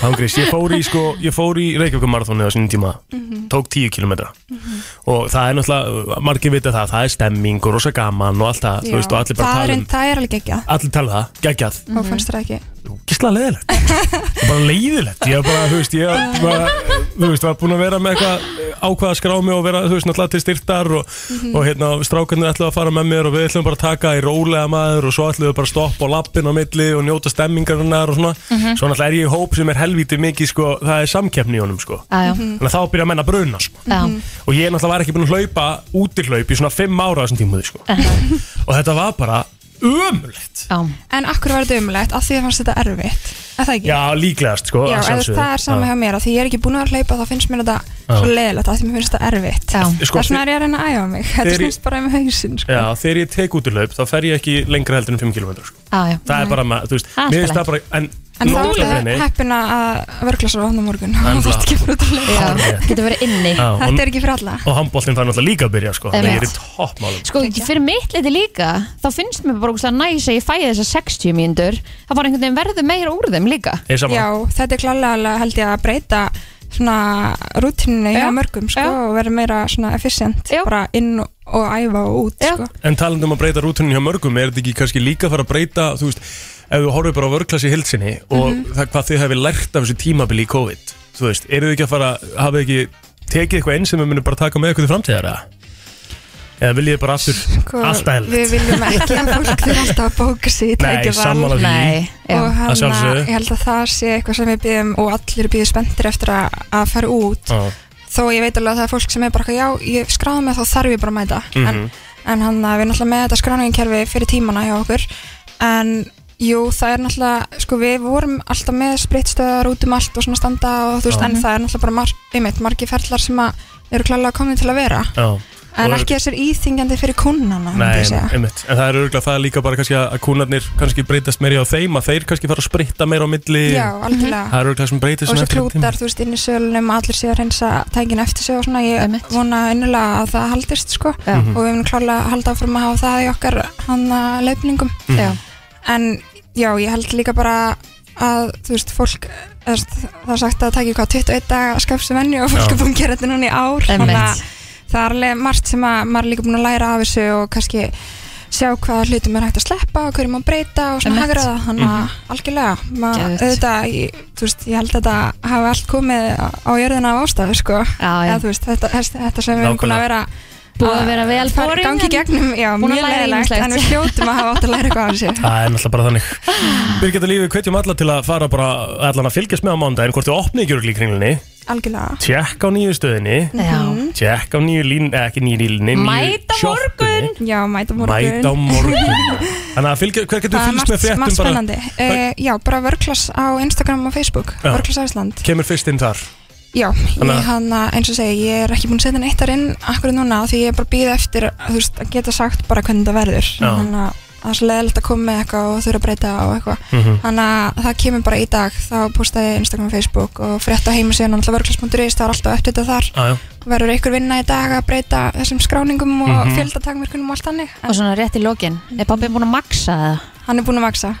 Hangris, ég fór í sko, ég fór í Reykjavík marathónu á sínum tíma,
Mhm.
tók 10 kilometra og það er náttúrulega, margir vita það, það er stemming og rosa gaman og allt það, þú veist, og allir bara
það,
tala
er,
um,
það er alveg ekki ekki,
allir tala um það, geggjað,
og fannst það ekki.
gísla leiðilegt, Það er bara leiðilegt, ég var bara, þú veist, ég var, bara, þú veist, var búin að vera með eitthvað eh, ákvaða skrámi og vera, þú veist, náttúrulega til styrtar og,
Mhm.
og hérna, strákarnir ætlaðu að fara með mér og við ætlum bara að taka í rólega maður og svo ætlaðu bara að stoppa á lappin á milli og njóta stemmingarinnar og svona,
Mhm.
svo náttúrulega er ég í hóp sem er helvítið mikið, sko, það er samkeppni í honum, sko
Ah,
Já, já,
mhm.
þannig að þá byrja að menna bruna sko.
já,
og ég náttúrulega var ekki búin að hlaupa útirhlaup í svona fimm ára á þessum tímuði sko. og þetta var bara ömulegt
já
En akkur var þetta umlegt, af því að fannst þetta erfitt, er það ekki?
já líklegast sko, að
Já, eða
sjálfsögðu.
það er saman hjá mér að því ég er ekki búin að hlaupa þá finnst mér þetta svo leiðilegt að því mér finnst þetta erfitt
Já.
þess
Sko,
vegna er ég að reyna að æfa mig <laughs> þetta
Þegar ég-
snýst bara um hausinn sko.
Já, þegar ég tek útirhlaup þá fer ég ekki lengra heldur en 5 km sko.
Já, já.
það er bara, ma- þú veist,
Það er
mér finnst
allt
það bara en,
en þá
nóg
er
af henni.
það heppina að vörglasa á hann á morgun
er bara-
og <laughs> þú þarft ekki að fara út að hlaupa
Já, getur verið inni
Já,
<laughs> þetta
og,
er ekki fyrir alla
og handbóltinn fær náttúrulega líka að byrja sko.
Einmitt.
þannig að ég er í toppmálum
Sko, fyrir mitt liti líka þá finnst mér bara ógustlega næs að ég fæði þessar 60 mínútur það bara einhvern veginn verður meira úr þeim líka
Ég er saman.
já, þetta er klálega held ég að breyta svona rútinu
Já.
hjá mörgum sko,
Já.
og vera meira svona efficient
Já.
bara inn og, og æfa og út
Já.
sko.
En talandi um að breyta rútunni hjá mörgum, er þetta ekki kannski líka að fara að breyta, þú veist, ef þú horfir bara á vörklassi hildsinni og
Mhm.
það hvað þið hefur lært af þessu tímabili í COVID, þú veist, eru þið ekki að fara, hafið þið ekki tekið eitthvað eins sem við munum bara taka með ykkur til framtíðar eða? Eða viljið þið bara aftur
Sko,
allt
við
ælilegt?
viljum ekki að fólk þurfa alltaf að bóka sig í
Nei,
tækifæri.
sammála því.
Nei, já,
og hann,
sjálfsögðu.
ég held að það sé eitthvað sem við býðum og allir býðu spenntir eftir að, að fara út
Já.
þó ég veit alveg að það er fólk sem er bara eitthvað, já, ég skráði mig þá þarf ég bara að mæta
Mhm.
en, en hann að við erum náttúrulega með þetta skráningarkerfi fyrir tímana hjá okkur en jú, það er náttúrulega sko við vorum alltaf með spritstöðar út um allt og svona standa og þú veist en það er náttúrulega bara mar einmitt, margi ferlar sem að eru klálega komni til að vera
Já.
en
Og-
ekki þessir íþingjandi fyrir kunnana myndi
Nei,
ég segja.
einmitt, en það er örgulega það líka bara kannski að kúnarnir kannski breytast meira á þeim að þeir kannski fara að spritta meira á milli
já, algjörlega
það er örgulega sem breytist
og
svona
þessi
eftir tíma.
klútar, þú veist, inn í sölunum allir séu að reynsa tækin eftir sig og svona ég
Einmitt.
vona innilega að það haldist sko.
Já.
Mhm.
og við munum klálega að halda áfram að hafa það í okkar hann leifningum
Mhm.
Já,
en já, ég held líka bara að þú veist, fólk þú veist, það er sagt að það taki hvað 21 dag að skapsa venni og fólk
Já.
er búin að gera þetta núna í ár þannig að
emmitt
það er alveg margt sem að maður er líka búin að læra af þessu og kannski sjá hvaða hlutum er hægt að sleppa og hverju má breyta og svona
Einmitt.
hagraða þannig að algjörlega maður,
Mhm. Geðveikt.
auðvitað, ég, þú veist, ég held að þetta hafi allt komið á á jörðina af ástæðu sko.
Já, já,
Eða, þú veist, þetta, þetta, þetta sem við erum búin að vera
búið að vera vel
fara-
boring,
gangi í
en-
gegnum, já,
búin að
mjög
læra
leiðilegt
ýmislegt.
en við hljótum að hafa átt að læra eitthvað
<laughs>
af þessu
Það er náttúrulega bara
<laughs>
þannig Birgitta Lífi, hvetjum alla til að fara bara allan að fylgjast með á mándaginn hvort þið opnið gjörgli í kringlunni
algjörlega
tjekk á nýju stöðinni
Já,
Mm.
tjekk á nýju línu, eh, ekki nýju línu
Mæta morgun.
já, mæta morgun
Mæta á
<laughs>
morgun Þannig að fylgja, hver getur
það er
fylgst með
margt, margt
fréttum bara
spennandi uh, já, bara vörklass á Instagram og Facebook
Já.
vörklass Ísland
kemur fyrst inn þar
Já, ég
Þannig að-
hana, eins og segi, ég er ekki búin að setja neitt þar inn akkurat núna því ég er bara að býða eftir þú veist, að geta sagt bara hvernig það verður
Já.
þannig að það er svo leðilegt að koma með eitthvað og þurfa að breyta og eitthvað
Mhm.
þannig að það kemur bara í dag, þá postaði ég Instagram og Facebook og frétt á heimasíðan og alltaf vörklass.is, það er alltaf eftir þetta þar
Á, já.
verður einhver vinna í dag að breyta þessum skráningum og mm
Mhm.
fjöldatakmörkunum og allt þannig
og svona rétt í lokin Er pabbi búin að maksa það?
hann er búin að
<laughs>
vaksa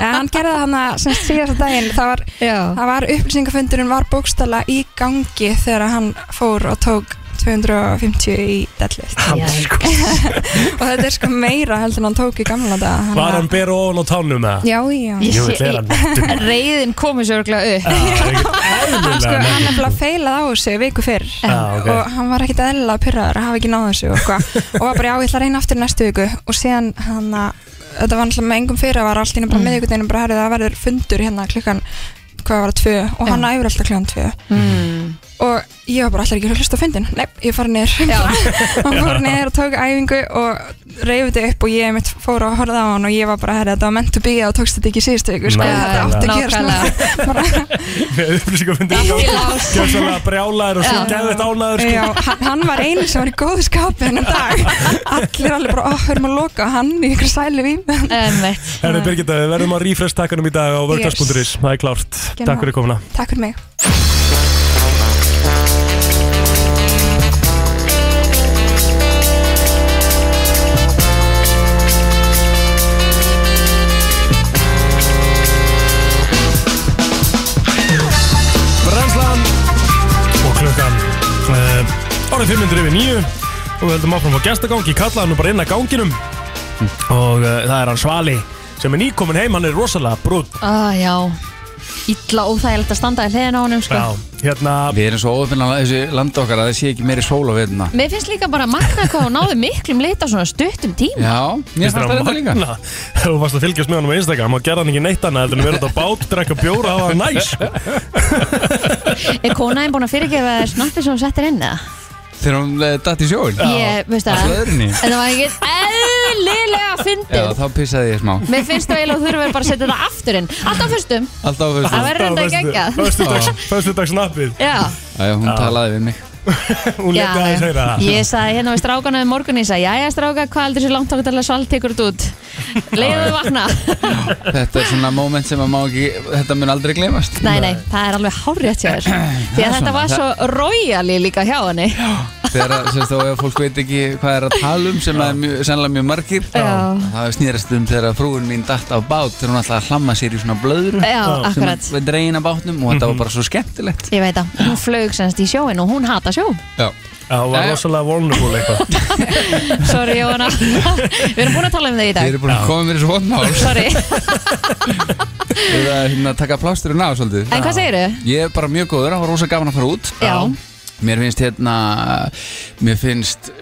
en hann gerði það hann að semst síðasta daginn það var,
Já
það var upplýsingafundurinn var bókstala í gangi þegar hann fór og tók 250 í deadlift og þetta er sko meira heldur en hann tók í gamla dag
Var hann bera ofan á tánum eða?
já, já
Ég
Jú,
sé-
þetta er hann <laughs> Ah, nettur.
Reyðin komið sér örgulega upp
Hann, sko, hann
Eðlilega
nefnilega feilað á þessu viku fyrr
Já, ok.
og hann var ekkit eðlilega pyrraður að hafa ekki náð þessu og,
<laughs>
eitthvað. og var bara já, ég ætla að reyna aftur næstu viku og síðan hann að þetta var alltaf með engum fyrir að var allt ínum bara mm. miðvikudeginu bara herrið það verður fundur hérna klukkan hvað var það, tvö og hann æfur alltaf klukkan tvö
mm.
og ég var bara alltaf ekki að hlusta á fundin nei, ég fór <laughs> niður og fór niður og tók æfingu og reyfði þetta upp og ég mitt fór að horfa á hann og ég var bara, herri, þetta var meant to be og tókst þetta ekki síðustu ykkur, sko,
Nákvæmlega.
þetta átti að gera svona
<laughs>
<laughs>
Með upplýsingafundir Gjössalega brjálaður og svo sko. geðvett ánaður
Já, hann, hann var einu sem var í góðu skapi hennan dag Allir alveg bara, ó, höfum að loka hann í ykkur sæli vím
Einmitt.
Herri Birgitta, við verðum að refresh takkanum í dag á vörgdags.is,
Yes.
það er klárt
Gerðu
Takk fyrir komuna
Takk fyrir mig
Brænslan og klukkan uh, orðið 500 yfir 9 og við höldum áfram á gestagangi, kallaði hann nú bara inn að ganginum og uh, það er hann Svali sem er nýkomin heim, hann er rosalega <laughs> brútt
ah, Já Ítla óþægilegt að standa í hliðin á honum sko.
Já, hérna
Við erum svo óöfnir að þessu landa okkar að það sé ekki meiri sól á veðuna
Mér finnst líka bara magna hvað hún náði miklum leita á svona stuttum tíma
Já, mér fannst það reynda líka
magna Þú varst að fylgjast með hann á Instagram og gerða hann ekki neitt annað heldur en að vera út á bát, drekka bjóra og hafa það næs sko.
Er konaðin búin að fyrirgefa þér snartir sem hún settir inn eða?
Þegar hún eh, datt í sjón
Ég, veist
Á
það
flöðrunni
En það var ekkert eðlilega
Já,
fyndið
þá pissaði ég smá
Mér finnst það eiginlega að þurfa bara að setja þetta aftur inn Alltaf fyrstum
Alltaf á fyrstu
Það verður þetta geggjað
Föstudags- Föstudagsnappið
Já
Já, hún talaði við mig
Hún leti
Já,
aðeins heyra það
Ég sagði hérna við strákana um morgun Ég sagði, jæja stráka, hvað heldur þessu langt okkur til að svald tekur þetta út Leiðu þau vakna
Þetta er svona moment sem að má ekki Þetta mun aldrei gleymast
Nei, nei, það er alveg hárétt hjá þér Því
er
að
svona,
þetta var
<clears throat> það-
svo royali líka hjá henni
Þegar að, sérst, og ef fólk veit ekki hvað er að tala um sem að er mjög, sennilega mjög margir
Já.
Það snýrist um þegar að frúin mín datt á bát þegar hún ætlaði að hlamma sér í svona blöðru
Já,
sem
akkurat
við dregin af bátnum og þetta var bara svo skemmtilegt
Ég veit að hún flög semst í sjóin og hún hata sjó
Já,
Já, hún var
Jæja.
rosalega vulnerable eitthvað
Sorry Jóhanna Við erum búin að tala um það í
þeir
dag
eru búin að um koma mér í svo vondmál <laughs>
Sorry,
Þeir eru að hérna, taka plásturinn af svolítið
en hvað segirðu?
Ég er bara mjög góður, það var rosa gaman að fara út
Já,
Mér finnst hérna Mér finnst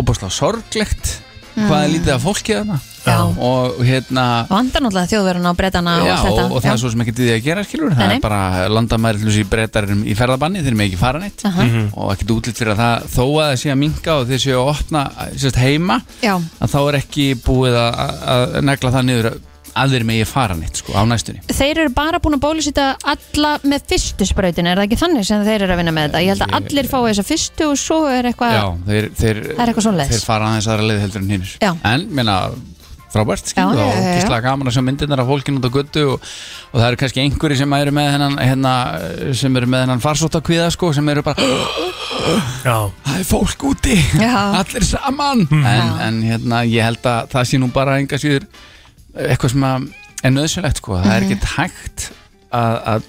óbúslega sorglegt
Mm.
Hvað er lítið af fólki þarna
Já.
Og hérna
vandar náttúrulega þjóðverun á breytana og
Já,
allt þetta
og, það er svo sem ekki dýði að gera skilur Það
Nei, nei.
er bara landamæri til þessi breytarum í ferðabanni Þeir eru ekki fara neitt
Aha.
Og ekkert útlitt fyrir að það Þó að það sé að minka og þeir séu að opna sérst, heima
Já,
Að þá er ekki búið að- að að negla það niður að þeir megi fara neitt sko, á næstunni
Þeir eru bara búin að bólusýta alla með fyrstu sprautin, er það ekki þannig sem þeir eru að vinna með þetta? Ég held að
Ég-
allir fái þessa fyrstu og svo er eitthvað
Já, þeir, þeir,
Það er eitthvað svoleiðis.
þeir fara aðeins aðra leið heldur en hinnir
Já.
en meina
Já,
frábært skilur
já,
og
já, já.
gíslega gaman að sjá myndirnar af fólkinu út á göttu og, og það eru kannski einhverjir sem eru með hennan hérna, sem eru með hennan farsóttakviða sko, sem eru bara <gasps>
Já.
það er fólk úti allir saman en, en hérna ég held að það sé nú bara enga síður eh, eitthvað sem að er nöðsynlegt sko, það er
Mhm.
ekkert hægt að, að,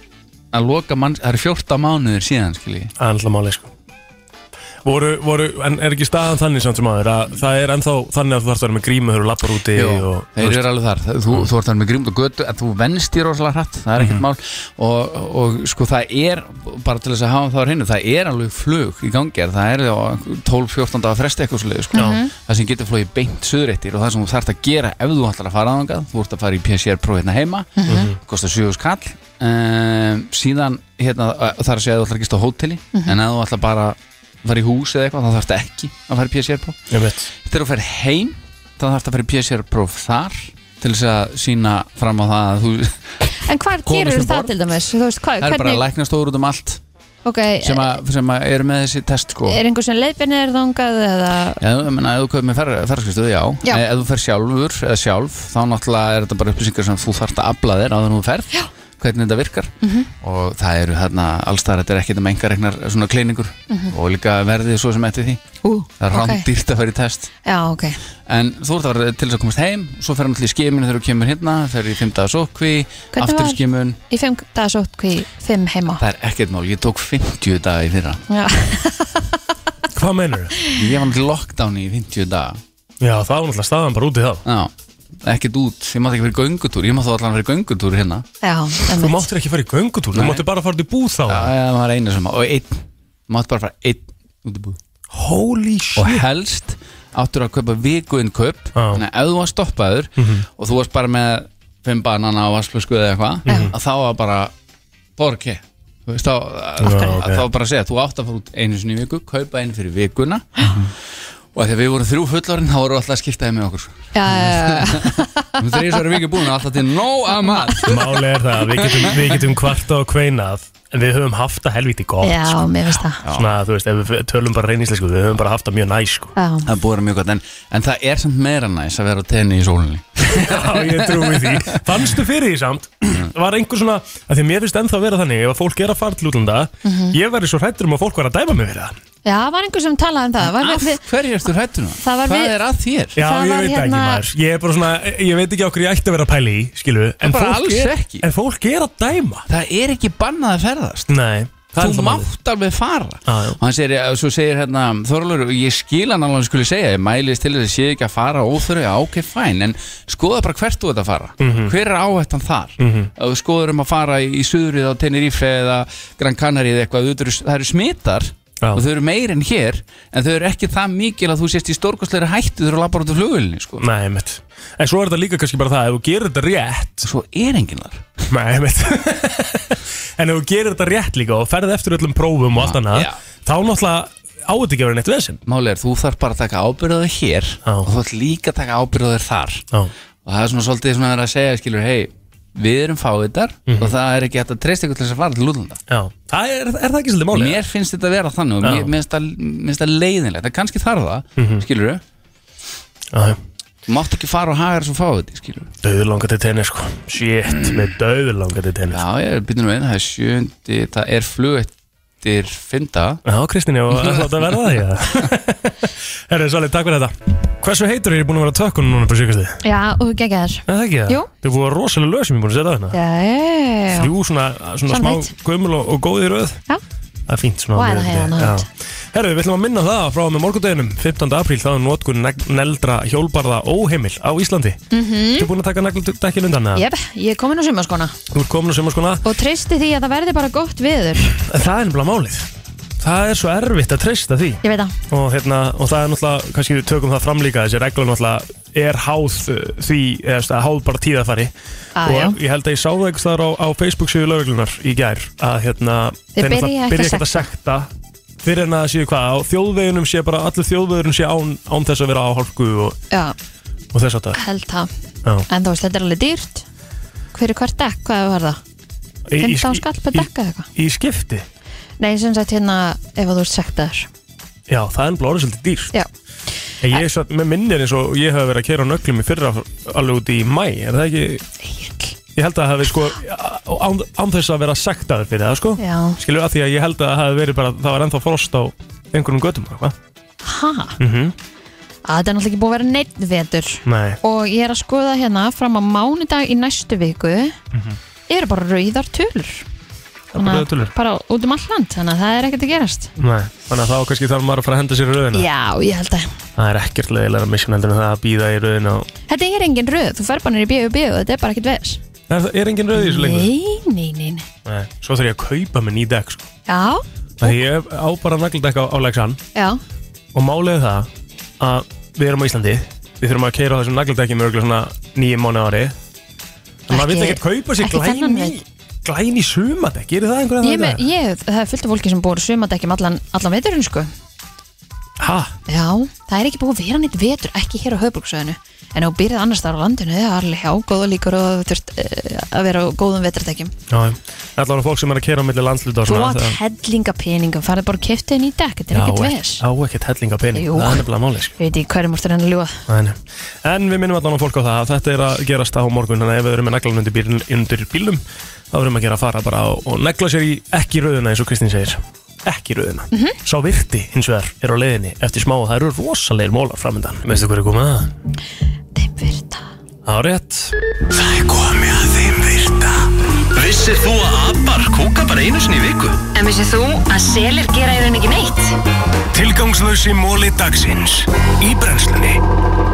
að loka mann það eru 14 mánuðir síðan skilji
Það er alltaf máli sko Voru, voru, en er ekki staðan þannig samt sem aður að það er ennþá þannig að þú þarfst að vera með grímu þegar þú lappar úti
Jú,
og,
þeir eru alveg þar þú, þú, þú ert þar með grímd og götu en þú venst í rosalega hratt, það er ekkert mál og, og sko það er bara til þess að hafa það á hreinu, það er alveg flug í gangi, það er á 12-14 daga fresti eitthvað svolítið, sko.
Já.
það sem getur flogið beint söðréttir og það sem þú þarft að gera ef þú ætlar að fara aðangað, þú ert að fara í PCR próf hérna heima,
Mhm.
kostar 7 skall um, síðan hérna, þar að segja að þú ætlar að gista á hóteli
Mhm.
en ef þú ætlar bara að fara í hús eða eitthvað, þá þarfst ekki að fara í PCR próf þegar þú fer heim þá þarfst að fara í PCR próf þar til þess að sína fram á það að þú <laughs>
En hvað
Komist
gerur
um
það
borð.
til dæmis? Þú veist, hvað,
það er bara
hvernig,
læknastóður út um allt
ok,
sem, að, sem að eru með þessi test sko
er einhver sem leiðbyrnir þangað eða,
Já, ég meina, ef þú kaupir með fer, ferðarskristuð, já.
Já.
Eh, Ef þú fer sjálfur eða sjálf, þá náttúrulega er þetta bara upplýsingar sem þú þarft að afla þér á þannig þú ferð, já. hvernig þetta virkar.
Mhm.
Og það eru þarna allstaðar, þetta er ekkert um engaregnar svona kleiningur
Mhm.
og líka verðið svo sem eftir því.
Ú,
það er
ok.
rándýrt að fara í test.
já, ok,
En þú ert að vera til þess að komast heim, svo fer hann allir í skiminu þegar þú kemur hérna, fer í 5 dagar sókvi,
Hvernig
aftur
var?
í skimun.
í fimm dagasótt í fimm heima.
Það er ekkert mál, ég tók 50 daga í fyrra.
Já,
Hvað meinar þau?
Ég var náttúrulega í lockdowni í 50 daga.
Já, það var náttúrulega staðan bara úti þá.
Já, ekkert út, ég mátt ekki verið göngutúr, ég mátt þá allan verið göngutúr hérna.
já, <laughs>
Þú
emmitt.
máttir ekki fara í göngutúr, þú
Nei.
máttir bara fara til búð þá
Já, já, það var einu sem að, og einn, mátt bara fara einn út í búð.
Holy shit.
Og helst áttur að kaupa vikuinnkaup, þannig að ef þú var stoppaður og þú varst bara með 5 banana og vassflösku eða eitthvað, að þá var bara borgi. Þú veist, þá,
Já,
að,
ok.
að, þá var bara að segja, þú átt að fara út einu sinni í viku, kaupa einu fyrir vikuna og þegar við vorum þrjú fullorinn þá vorum við alltaf að skipta þeim með okkur sko.
já, já, já.
Við erum þrjú sværi vikið búin og alltaf til nóg að mat <laughs>
Máli er það, að við getum, við getum kvarta og kveinað En við höfum haft það helviti gott
Já,
sko.
mér finnst það.
Svona, þú veist, ef við tölum bara reynislega sko, Við höfum bara haft það mjög næ
<laughs>
sko.
Já.
Það er búin mjög gott, en, en það er samt meira næs að vera á tenni í sólinni
Já, ég trúi því Fannstu fyrir því samt Var einhver svona, af því að mér finnst ennþá að vera þannig Ef að fólk er að fara til útlanda
Mhm.
Ég verði svo hrættur um að fólk var að dæma mig fyrir það
já, var einhver sem talaði um það. Var, við,
Hverju ertu hrættur nú?
það var
Hvað
við,
er að þér?
Já,
Það
ég
var
veit ekki
hérna-
maður Ég er bara svona, ég veit ekki á hverju ég ætti að vera að pæla í Skilu, en
bara
fólk,
alls
er,
ekki.
en fólk er að dæma
Það er ekki bannað að ferðast
Nei, það er
Þú
það málið.
mátt alveg fara
Já, já.
Og hann segir, svo segir hérna Þorlur, ég skil hann alveg að hann skuli segja Ég mælist til þess að sé ekki að fara óþurri Já, ok, fæn, en skoða bara hvert þú ert að fara
Mhm.
Hver er áhættan þar?
Mhm.
Ef þú skoður um að fara í, í suðrið á Tenerife eða Gran Canaria eða eitthvað, þú eru, það eru smittar og þau eru meir en hér en þau eru ekki það mikil að þú sést í stórkostleiri hættu þau eru að labba út af flugulni sko.
Nei, mitt En svo er þetta líka kannski bara það, ef þú gerir þetta rétt
Svo er enginn þar
Nei, mitt En ef þú gerir þetta rétt líka og ferð eftir öllum prófum og allt annað Þá náttúrulega á þetta ekki að vera neitt vesinn
Máli er, þú þarf bara að taka ábyrðaður hér og þú þarf líka að taka ábyrðaður þar
Já.
og það er svona svolítið svona að vera að segja skilur, hei, við erum fáiðar
Mhm.
og það er ekki hægt að treysta ykkur til þess að fara til útlanda
Já, það er, er það ekki svolítið máli?
Mér finnst þetta að vera þannig og
Já.
mér mér finnst það- mér finnst það leiðinlegt, það kannski þarf það
Mhm.
skilur við
Já,
Þú mátt ekki fara og haga þess að fá þetta, skilur
Dauðlanga til tennis, sko Shit, með dauðlanga til tennis
Já, ég er býtum við, það er sjöndi, það er flug eftir fynda
Já, Kristín, ég var alltaf að verða það, já Herru, svolítið, takk fyrir þetta Hversu heitur er ég búin að vera á tökkunum núna på sjökastu?
já, og þú geggja þér.
Er það ekki það?
Jú.
Þau búið að rosalega lög sem ég er búin að setja á hérna
Já, já, já, já.
Þrjú svona, svona
Samþykkt.
smá gömul og, og góð í röð
Já.
Það er fínt svona
Og
á
er það
miðvikudegi.
hérna,
Já. Herru, við ætlum að minna það frá og með morgundeginum 15. apríl, það er notkun neg- neldra hjólbarða óheimil á Íslandi
Mhm.
Þú er búin að taka negldekkin undan eða?
Jep, ég er komin á sumaskona
Þú ert komin á sumarskona
og treysti því að það verði bara gott viður.
Það er nefnilega málið Það er svo erfitt að treysta því
Ég veit það.
og, hérna, og það er náttúrulega, kannski við tökum það fram líka þessi regla náttúrulega er háð uh, því, eða þú veist, háð bara tíðafari
Ah,
og
já.
ég held að ég sá það einhvers staðar á, á Facebook síðu lauruglunar í gær að hérna,
Þeir byrja
náttúrulega
ekki að
ekkert að sekta fyrir en að það séu hvað, á þjóðveginum sé bara allur þjóðveginum sé án, án þess að vera á hálku og,
Já,
og þess að það
held það
Já.
en þú veist, þetta er alveg dýrt hver er hvert dekk, hvað var það?
Í- í-
15 skall per
í-
dekk eða eitthvað
Í skipti?
nei, sem sagt hérna, ef að þú ert sektaður
Já, það er bara orðið svolítið dýrt
já,
En Ég er svo, með minnir eins og ég hef verið að kera á nöglum í fyrra alveg út í mæ, er það ekki? Ég held að það hafi sko án, án þess að vera sektaður fyrir það sko
já,
Skilur að því að ég held að það hafi verið bara það var ennþá frost á einhvernum götum eða eitthvað
ha
mm
að þetta er náttúrulega ekki búið að vera neitt vetur
Nei
og ég er að skoða hérna fram á mánudag í næstu viku eru bara rauðar tölur
Það er Mhm. bara rauðar tölur.
bara út um alland þannig að það er ekkert að gerast
Nei, þannig að þá kannski þarf maður að fara að henda sér í rauðina
já, ég held að
Það er ekkert leiðilega mission heldur en það að býða í rauðina og...
þetta er engin rauð, þú fer bara nýri bíu bíu þetta er bara ekkert veðs
er, það- er engin rauð í þessu lengur?
nei, nei, nei, nei
Nei Svo þarf ég að kaupa mér ný dekk sko
já,
Það ég hef- á bara nagladekk á, á Lexan
já,
og málið er það að við erum á Íslandi við þurfum að keira á þessum nagladekki mjög svona nýju mánu ári en maður vil
Ekki-
ekkert kaupa sér
ekki þennan
glæni
veit.
glæni sumadekk, er það einhverja
ég, með, ég, það er fullt af fólki sem búið sumadekkjum allan, allan veturinn sko
ha,
já, það er ekki búið að vera neitt vetur ekki hér á höfbruksöðinu en ef þú byrðið annars þar á landinu það er alveg hjá, góða líkur og þú þurft eh, að vera á góðum veturdekkjum
já, allavega fólk sem er að keira á milli landsluta og
Þú átt
svona
hellinga peningum, farið bara og keftið henni í dekk, þetta er
Já,
ekkert
ekki-
ves.
á ekkert hellinga pening,
Jú.
það er nefnilega málið sko.
Ég veit ekki hverjum úrstur henni að ljúa.
Nei, nei. en við minnum allan á fólk á það að þetta er að gerast á morgun þannig að ef við erum með neglan undir, bíl, undir bílum þá verum að gera að fara bara og, og negla sér í ekki rauðina eins og Kristín segir ekki rauðina mm
Mhm.
-hmm. sá virti hins vegar er á leiðinni eftir smá og það eru rosalegir mólar framöndan veistu hverju komið að?
Þeim virta.
á rétt
Það er komið að þeim virta Vissir þú að abar kúka bara einu sinni í viku?
En vissið þú að selir gera í raun ekki neitt?
Tilgangslösi móli dagsins Í brennslunni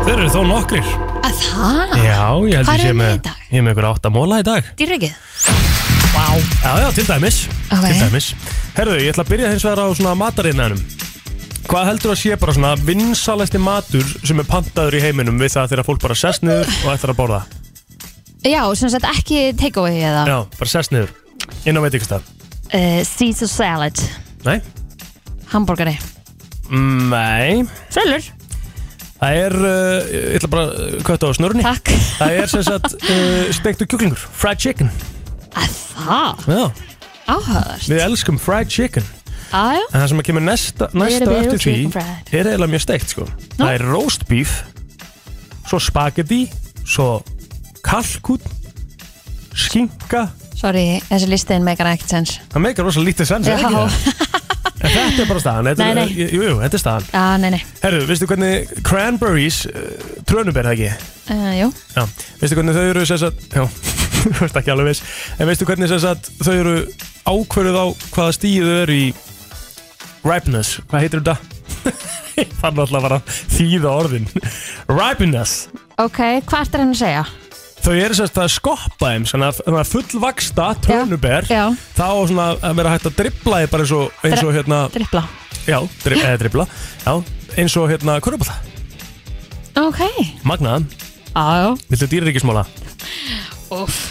Þeir eru þó nokkrir
Að það?
Já, ég held
Hvað
ég sé
eru
með
með í dag?
ég er með ykkur átta móla í dag
Dýrrikið?
Já, já, til dæmis,
Ok.
til dæmis. Herðu, ég ætla að byrja hins vegar á svona matarinnanum Hvað heldur að sé bara svona vinsalæsti matur sem er pantaður í heiminum við það þegar fólk bara sest niður og ætlar að borða
Já, sem sagt ekki takeaway eða
Já, bara sest niður Inn á veitingstað
uh, Caesar salad,
Nei
hamburgeri.
Nei
Sölur?
Það er, uh, ég ætla bara að kötta á snörunni
Takk.
Það er sem sagt uh, steiktur kjúklingur, fried chicken
Að það?
Já,
Áhagðar.
við elskum fried chicken
Aðjá?
En það sem að kemur næsta, næsta
Little bit
eftir
of
því
chicken fried.
er eiginlega mjög steikt sko. Það er roast beef svo spagetti svo kalkún skinka
Sorry, þessi listiðin megar ekkert sens.
það meikar rosa lítið sens er
Já.
ekki það?
<laughs>
En þetta er bara staðan þetta,
Nei, nei.
Jú, jú, þetta er staðan
Já, nei, nei.
Herru, veistu hvernig cranberries uh, trönubér það ekki?
Uh, jú.
Já, veistu hvernig þau eru sem sagt, já, <laughs> þú veist ekki alveg viss en veistu hvernig sem sagt, þau eru ákverðuð á hvaða stíð þau eru í ripeness, hvað heitir þetta? <laughs> Ég fann alltaf bara að þýða orðin ripeness,
Ok, hvað ertu hann að segja?
þau eru sem sagt að skoppa þeim, svona þannig að fullvaksta trönuber,
Já,
þá á svona að vera hægt að dribla þeim bara eins og, eins og hérna,
drippla.
já, drib, eða dribla já, eins og hérna, körubóla
Ok.
magnaðan,
Aðjá.
viltu dýraríkismála?
Úf.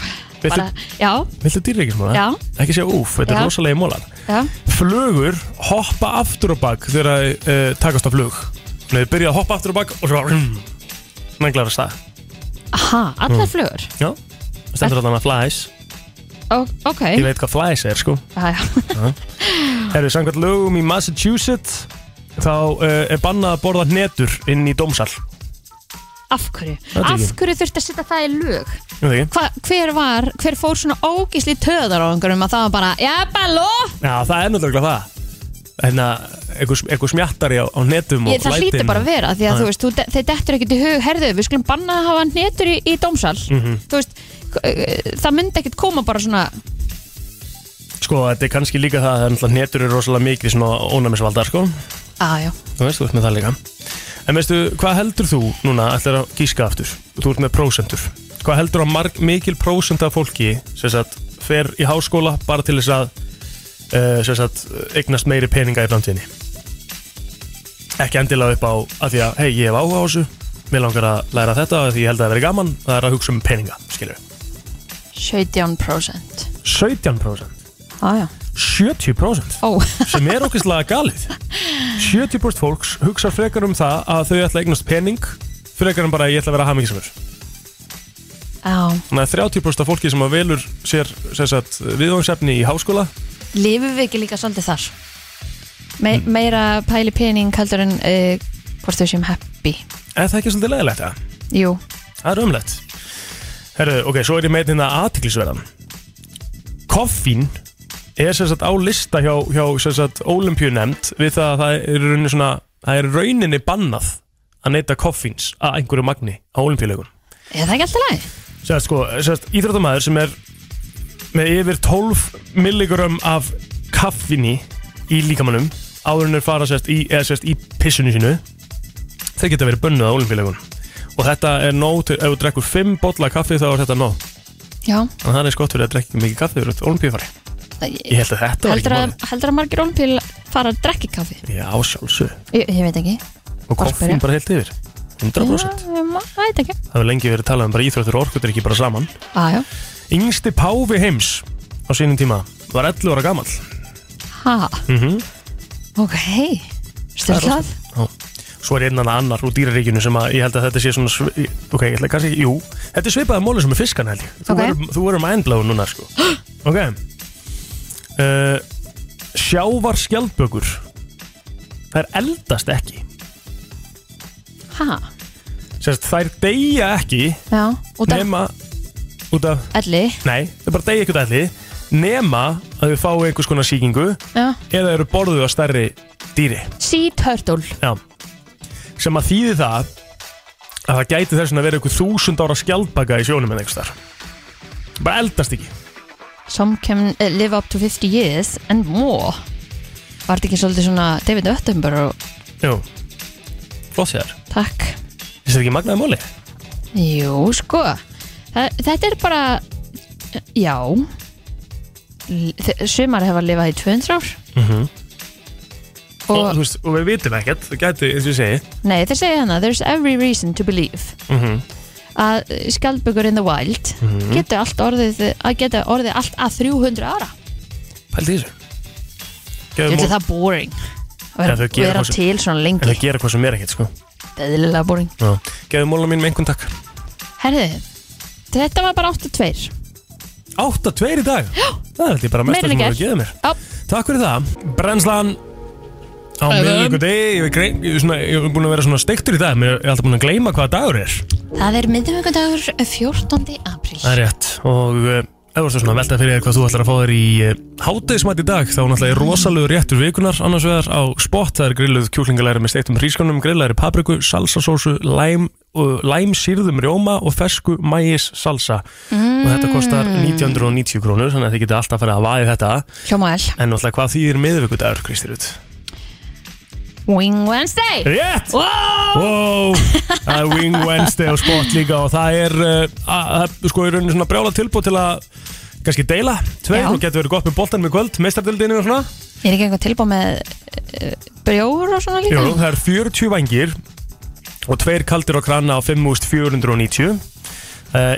Viltu,
Bara, já,
viltu dýraríkismála?
Já.
ekki segja úf, þetta
Já.
er rosalegi mólar
já.
flugur hoppa aftur á bak þegar þau uh, takast á flug Þannig að þau byrja að hoppa aftur á bak og svo mm, nenglar að stað
Aha,
Mm.
allar flugur.
Já, það stendur alltaf að flies
Ó, ok.
Ég veit hvað flies er sko
Aðjá.
Herru, samkvæmt lögum í Massachusetts þá uh, er bannað að borða netur inn í dómsal
Af hverju?
veit ekki.
Af hverju þurfti að setja það í lög?
Ég veit ekki.
Hva, hver var, hver fór svona ógísli töðar á einhverjum að það var bara Já, balló!
Já, það er náttúrulega það Hérna, eitthvað eitthvað smjattari á, á netum og
Ég, það
lætin
hlýtur bara að vera því að
Já.
þú veist, þú, þeir dettur ekkert í hug Herðu, við skulum banna að hafa netur í, í dómsal Þú veist, k- eh, það myndi ekkert koma bara svona
Sko, þetta er kannski líka það að náttúrulega netur eru rosalega mikið svona ónæmisvaldar sko
Aðjá,
Þú veist, þú ert með það líka En veistu, hvað heldur þú núna ætlar að gíska aftur? Þú ert með prósentur Hvað heldur að marg, mikil prósent af fólki sem sagt, fer í háskóla bara til þess að uh, sem sagt, eignast meiri peninga í framtíðinni? Ekki endilega upp á að því að, hei, ég hef áhuga á þessu Mér langar að læra þetta af því ég held að það veri gaman Það er að hugsa um peninga, skilur
17%
17%
Aðjá,
70%
ó,
sem er okkislega galið 70% fólks hugsa frekar um það að þau ætla að eignast pening frekar en bara ég ætla að vera hamingisamur
<laughs> Já,
Þannig að 30% af fólki sem að velur sér sem sagt, viðvangsefni í háskóla
lifum við ekki líka svolítið þar Me meira pæli pening heldur en uh, hvort þau séum happy
Er það ekki svolítið leðilegt það?
Jú,
Það er umlegt Herru, ok, svo er ég meitin að aðtiklisverðan Koffín er sem sagt á lista hjá, hjá sem sagt olimpíunemnd við það að það er í rauninni svona það er í rauninni bannað að neyta koffíns að einhverju magni á olimpíuleikum
er það ekki alltaf læg?
Sérst sko, sérst íþróttamæður sem er með yfir 12 milligram af kaffinni í líkamannum áður en er fara sérst í, eða sérst í pissinu sínu þeir geta verið bönnuð á olimpíuleikum og þetta er nóg til, ef þú drekkur 5 bolla kaffi þá er þetta nóg
Já,
en það er skott fyrir að drekka ekki mikið kaffi fyrir olimpíufari ég held að þetta var
heldur
ekki
að,
málið
heldur að margir olimpíl fara að drekki kaffi?
já, sjálfsög,
Ég, ég veit ekki
og koffín bara heilt yfir 100%
Já, ég ma- veit ekki
það hefur lengi verið talað um bara íþróttur og orkutur ekki bara saman
ah, já.
yngsti páfi heims á sínum tíma var 11 ára gamall
Ha,
mhm
ok Styrklað
Já. Svo er einan annar úr dýraríkinu sem að ég held að þetta sé svona svi- ok, ég ætla kannski, jú, þetta er svipaði móli sem er fiskan held ég, þú
Ok.
verður- þú verður mindblown núna
<gasps>
sko ok uh, sjávar skjaldbökur þær eldast ekki
Ha,
Sérst, þær deyja ekki
já, út af
nema út af,
elli
nei, þær bara deyja ekki út af allir nema að þau fáu einhvers konar sýkingu
Já.
eða eru borðuð á stærri dýri
Sea turtle
Já Sem að þýði það að það gæti þess vegna að vera einhver þúsund ára skjaldbaka í sjónum en einhvers þar Bara eldast ekki
Some can eh, live up to 50 years and more Var þetta ekki svolítið svona David Attenborough
Jú Flott sér
Takk
Þetta er ekki magnaði móli
Jú, sko Þa- Þetta er bara eh, Já L- þe- Sumar hefa lifað í 200 ár
Mhm. og,
Og-
þú veist, og við vitum ekkert Það gæti, eins og ég segi
Nei, þeir segja hana There's every reason to believe
mm -hmm.
að skjaldbökur in the wild
Mhm.
geta allt orðið að geta orðið allt að 300 ára
Pældi í þessu
Ég
Gefum
ætla
út-
það boring að
Ja,
vera,
þau gera
vera
hvað sem-
til svona lengi
En það gera hvað sem er ekkert sko
beðlilega boring
Gefðu móla mín með einhvern takk
Herðu, þetta var bara 8-2
8 tveir í dag Já Það er alltaf bara
Meira
mesta
en
sem
í
þú hefur
gær.
gefið mér
Já.
Takk fyrir það Brennslan Á
Æfum.
miðvíkudegi Ég hef grein- ég er svona- ég er búin að vera svona steiktur í dag Mér er alltaf búin að gleyma hvaða dagur er
Það er miðvíkundagur 14. apríl
Það er rétt og uh, ef þú ert svona að velta fyrir þér hvað þú ætlar að fá þér í uh, hátegismat í dag þá er náttúrulega rosalegur réttur vikunar annars vegar á spott, það er grilluð kjúklingalæri með steiktum hrískanum, grillaðri papriku, salsasósu, læm, uh, læm sírðum rjóma og fersku mægis salsa og þetta kostar 1990 krónur þannig að þið geta alltaf að fara að vaði þetta
Hljóma vel
en náttúrulega hvað þýðir miðvikudagur, Kristi Rut?
Wing Wednesday
Rétt!
wow!
Wow, það er Wing Wednesday á spott líka og það er uh, að, að, sko í rauninni svona brjála tilbúð til að kannski deila, tveir
Já.
og getur verið gott með boltanum í kvöld, meistardildinu og svona
Er ekki einhver tilbúið með uh, brjóður og svona líka?
Jú, það er 40 vangir og tveir kaldir á krana á 5490 uh,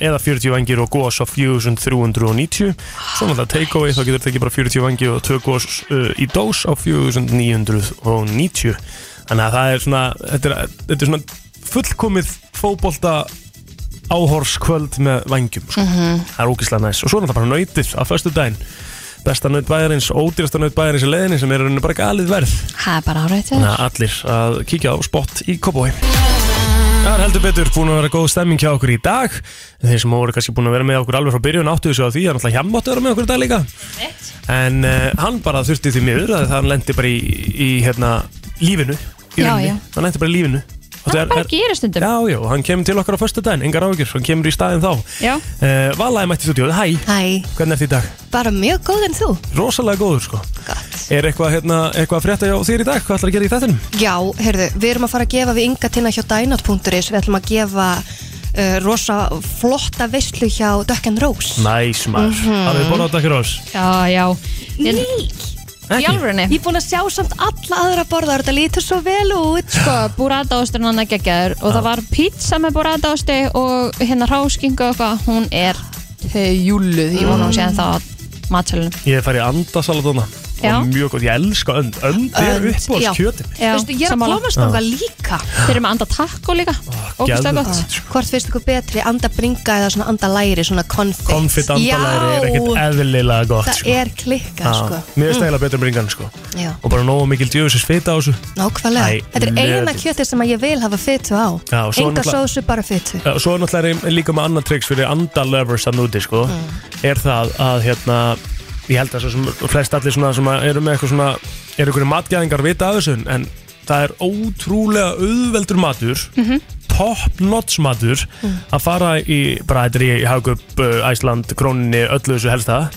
eða 40 vangir og gós á 4390 svona það take away þá getur tekið bara 40 vangir og tvö gós uh, í dós á 4990 þannig að það er svona þetta er, þetta er svona fullkomið fótbolta áhorskvöld með vangjum sko.
Mhm.
það er ógislega næst og svo er það bara nautið á föstu daginn besta naut bæjarins, ódýrasta naut bæjarins í leiðinni sem er í rauninni bara galið verð
Það er bara árætt við
Þannig að Hérna allir að kíkja á spott í Kobói Það er heldur betur búin að vera góð stemming hjá okkur í dag En Þeir sem voru kannski búin að vera með okkur alveg frá byrjun áttuðu sig á því Það er náttúrulega hjemmáttu að vera með okkur í dag líka En uh, hann bara þurfti því miður að hann lendi bara í, í hérna, lífinu í
Já,
rauninni.
já.
Hann lendi bara í lífinu Og
Það er bara gerist stundum
Já, já, hann kemur til okkar á föstu daginn, engar áhyggjur, hann kemur í staðin þá
Já.
uh, Valaði mætti stúdíóð, hæ,
Hæ,
hvernig ertu í dag?
bara mjög góð en þú
Rosalega góður sko
Gott
Er eitthvað, hérna, eitthvað að frétta hjá þér í dag? Hvað ætlar að gera í þettinum?
Já, heyrðu, við erum að fara að gefa við Inga Tina hjá Dynat.is Við ætlum að gefa uh, rosa flotta veislu hjá Duck and Rose
Næs maður, mm
Mhm.
-hmm. hafið borðað þetta hrós
Já, já Ég- Í alvörunni
Ég er búin að sjá samt alla aðra borðar Þetta lítur svo vel út
sko, burrataosturinn hann er geggjaður og það var pizza með burrataosti og hérna ráskingu og eitthvað, hún er júluð, ég vona að hún sé en það matsælunum.
Ég hef farið í andasalat þarna
Já.
og mjög góð, ég elska önd önd er uppáhalds kjöti
Já,
Veistu, ég er að
sammála.
komast þangað líka
Þeir eru með anda takk og líka Ógustlega
geðveikt,
gott
Hvort finnst ykkur betri, anda bringa eða svona anda læri, svona konfit
konfitt andalæri er ekkert eðlilega gott
Það
sko.
er klikka,
Já,
sko
Mér er stæla betur um ringan sko.
Já.
og bara nógu mikil djöfis fita á þessu
Nákvæmlega,
Æ,
þetta er eina
leður.
kjötið sem að ég vil hafa fytu á
Já, og svo
Enga
náttúrulega-
sósu, bara fytu
Já, og Svo er náttúrulega er líka með annan triks fyrir andalovers að núti sko, er það að hérna, ég held að svo sem flest allir svona sem að eru með eitthvað svona eru einhverju matgæðingar vita af þessu en það er ótrúlega auðveldur matur top notch matur að fara í, bara þetta er í Hagöp, Æsland, Króninni, öllu þessu helsta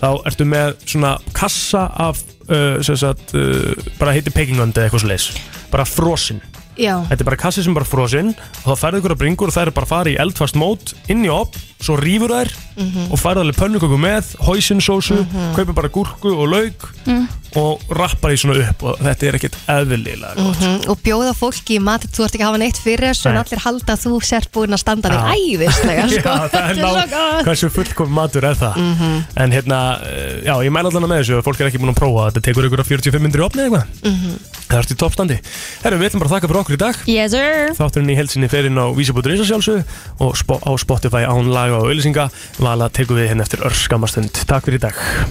þá ertu með svona kassa af uh, sem sagt, uh, bara heiti pekingönd eða eitthvað svo leis bara frosinn
Já,
Þetta er bara kassi sem er bara frosinn og þá færðu ykkur að bringur og það er bara að fara í eldfast mót inn í opn, svo rýfur þær
Mhm.
og færðu alveg pönnuköku með, hoisinsósu mm
Mhm.
kaupir bara gúrku og lauk
mm.
og rappar í svona upp og þetta er ekkert eðlilega
Mm Og bjóða fólki í mat, þú ert ekki að hafa neitt fyrir þessu en
Nei.
allir halda að þú sért búin að standa þig
Já.
æðislega sko.
Já, það er
Þetta svo
nátt
gott.
hversu fullkom matur er það
Mhm.
en hérna, eh, já, ég mæla allan með þessu fólk er ekki búin að prófa, þetta tekur ykkur að 45 myndir í opni eða eitthvað,
Mhm.
það er í toppstandi Herru, við ætlum bara að þakka fyrir okkur í dag
Yes sir
Þátturinn í helsinni fer inn á vísabútur.is að sjálfsögðu og spo- á Spotify án laga og auðlýsinga. Vala tekur við hérna eftir örskammastund. Takk fyrir í dag.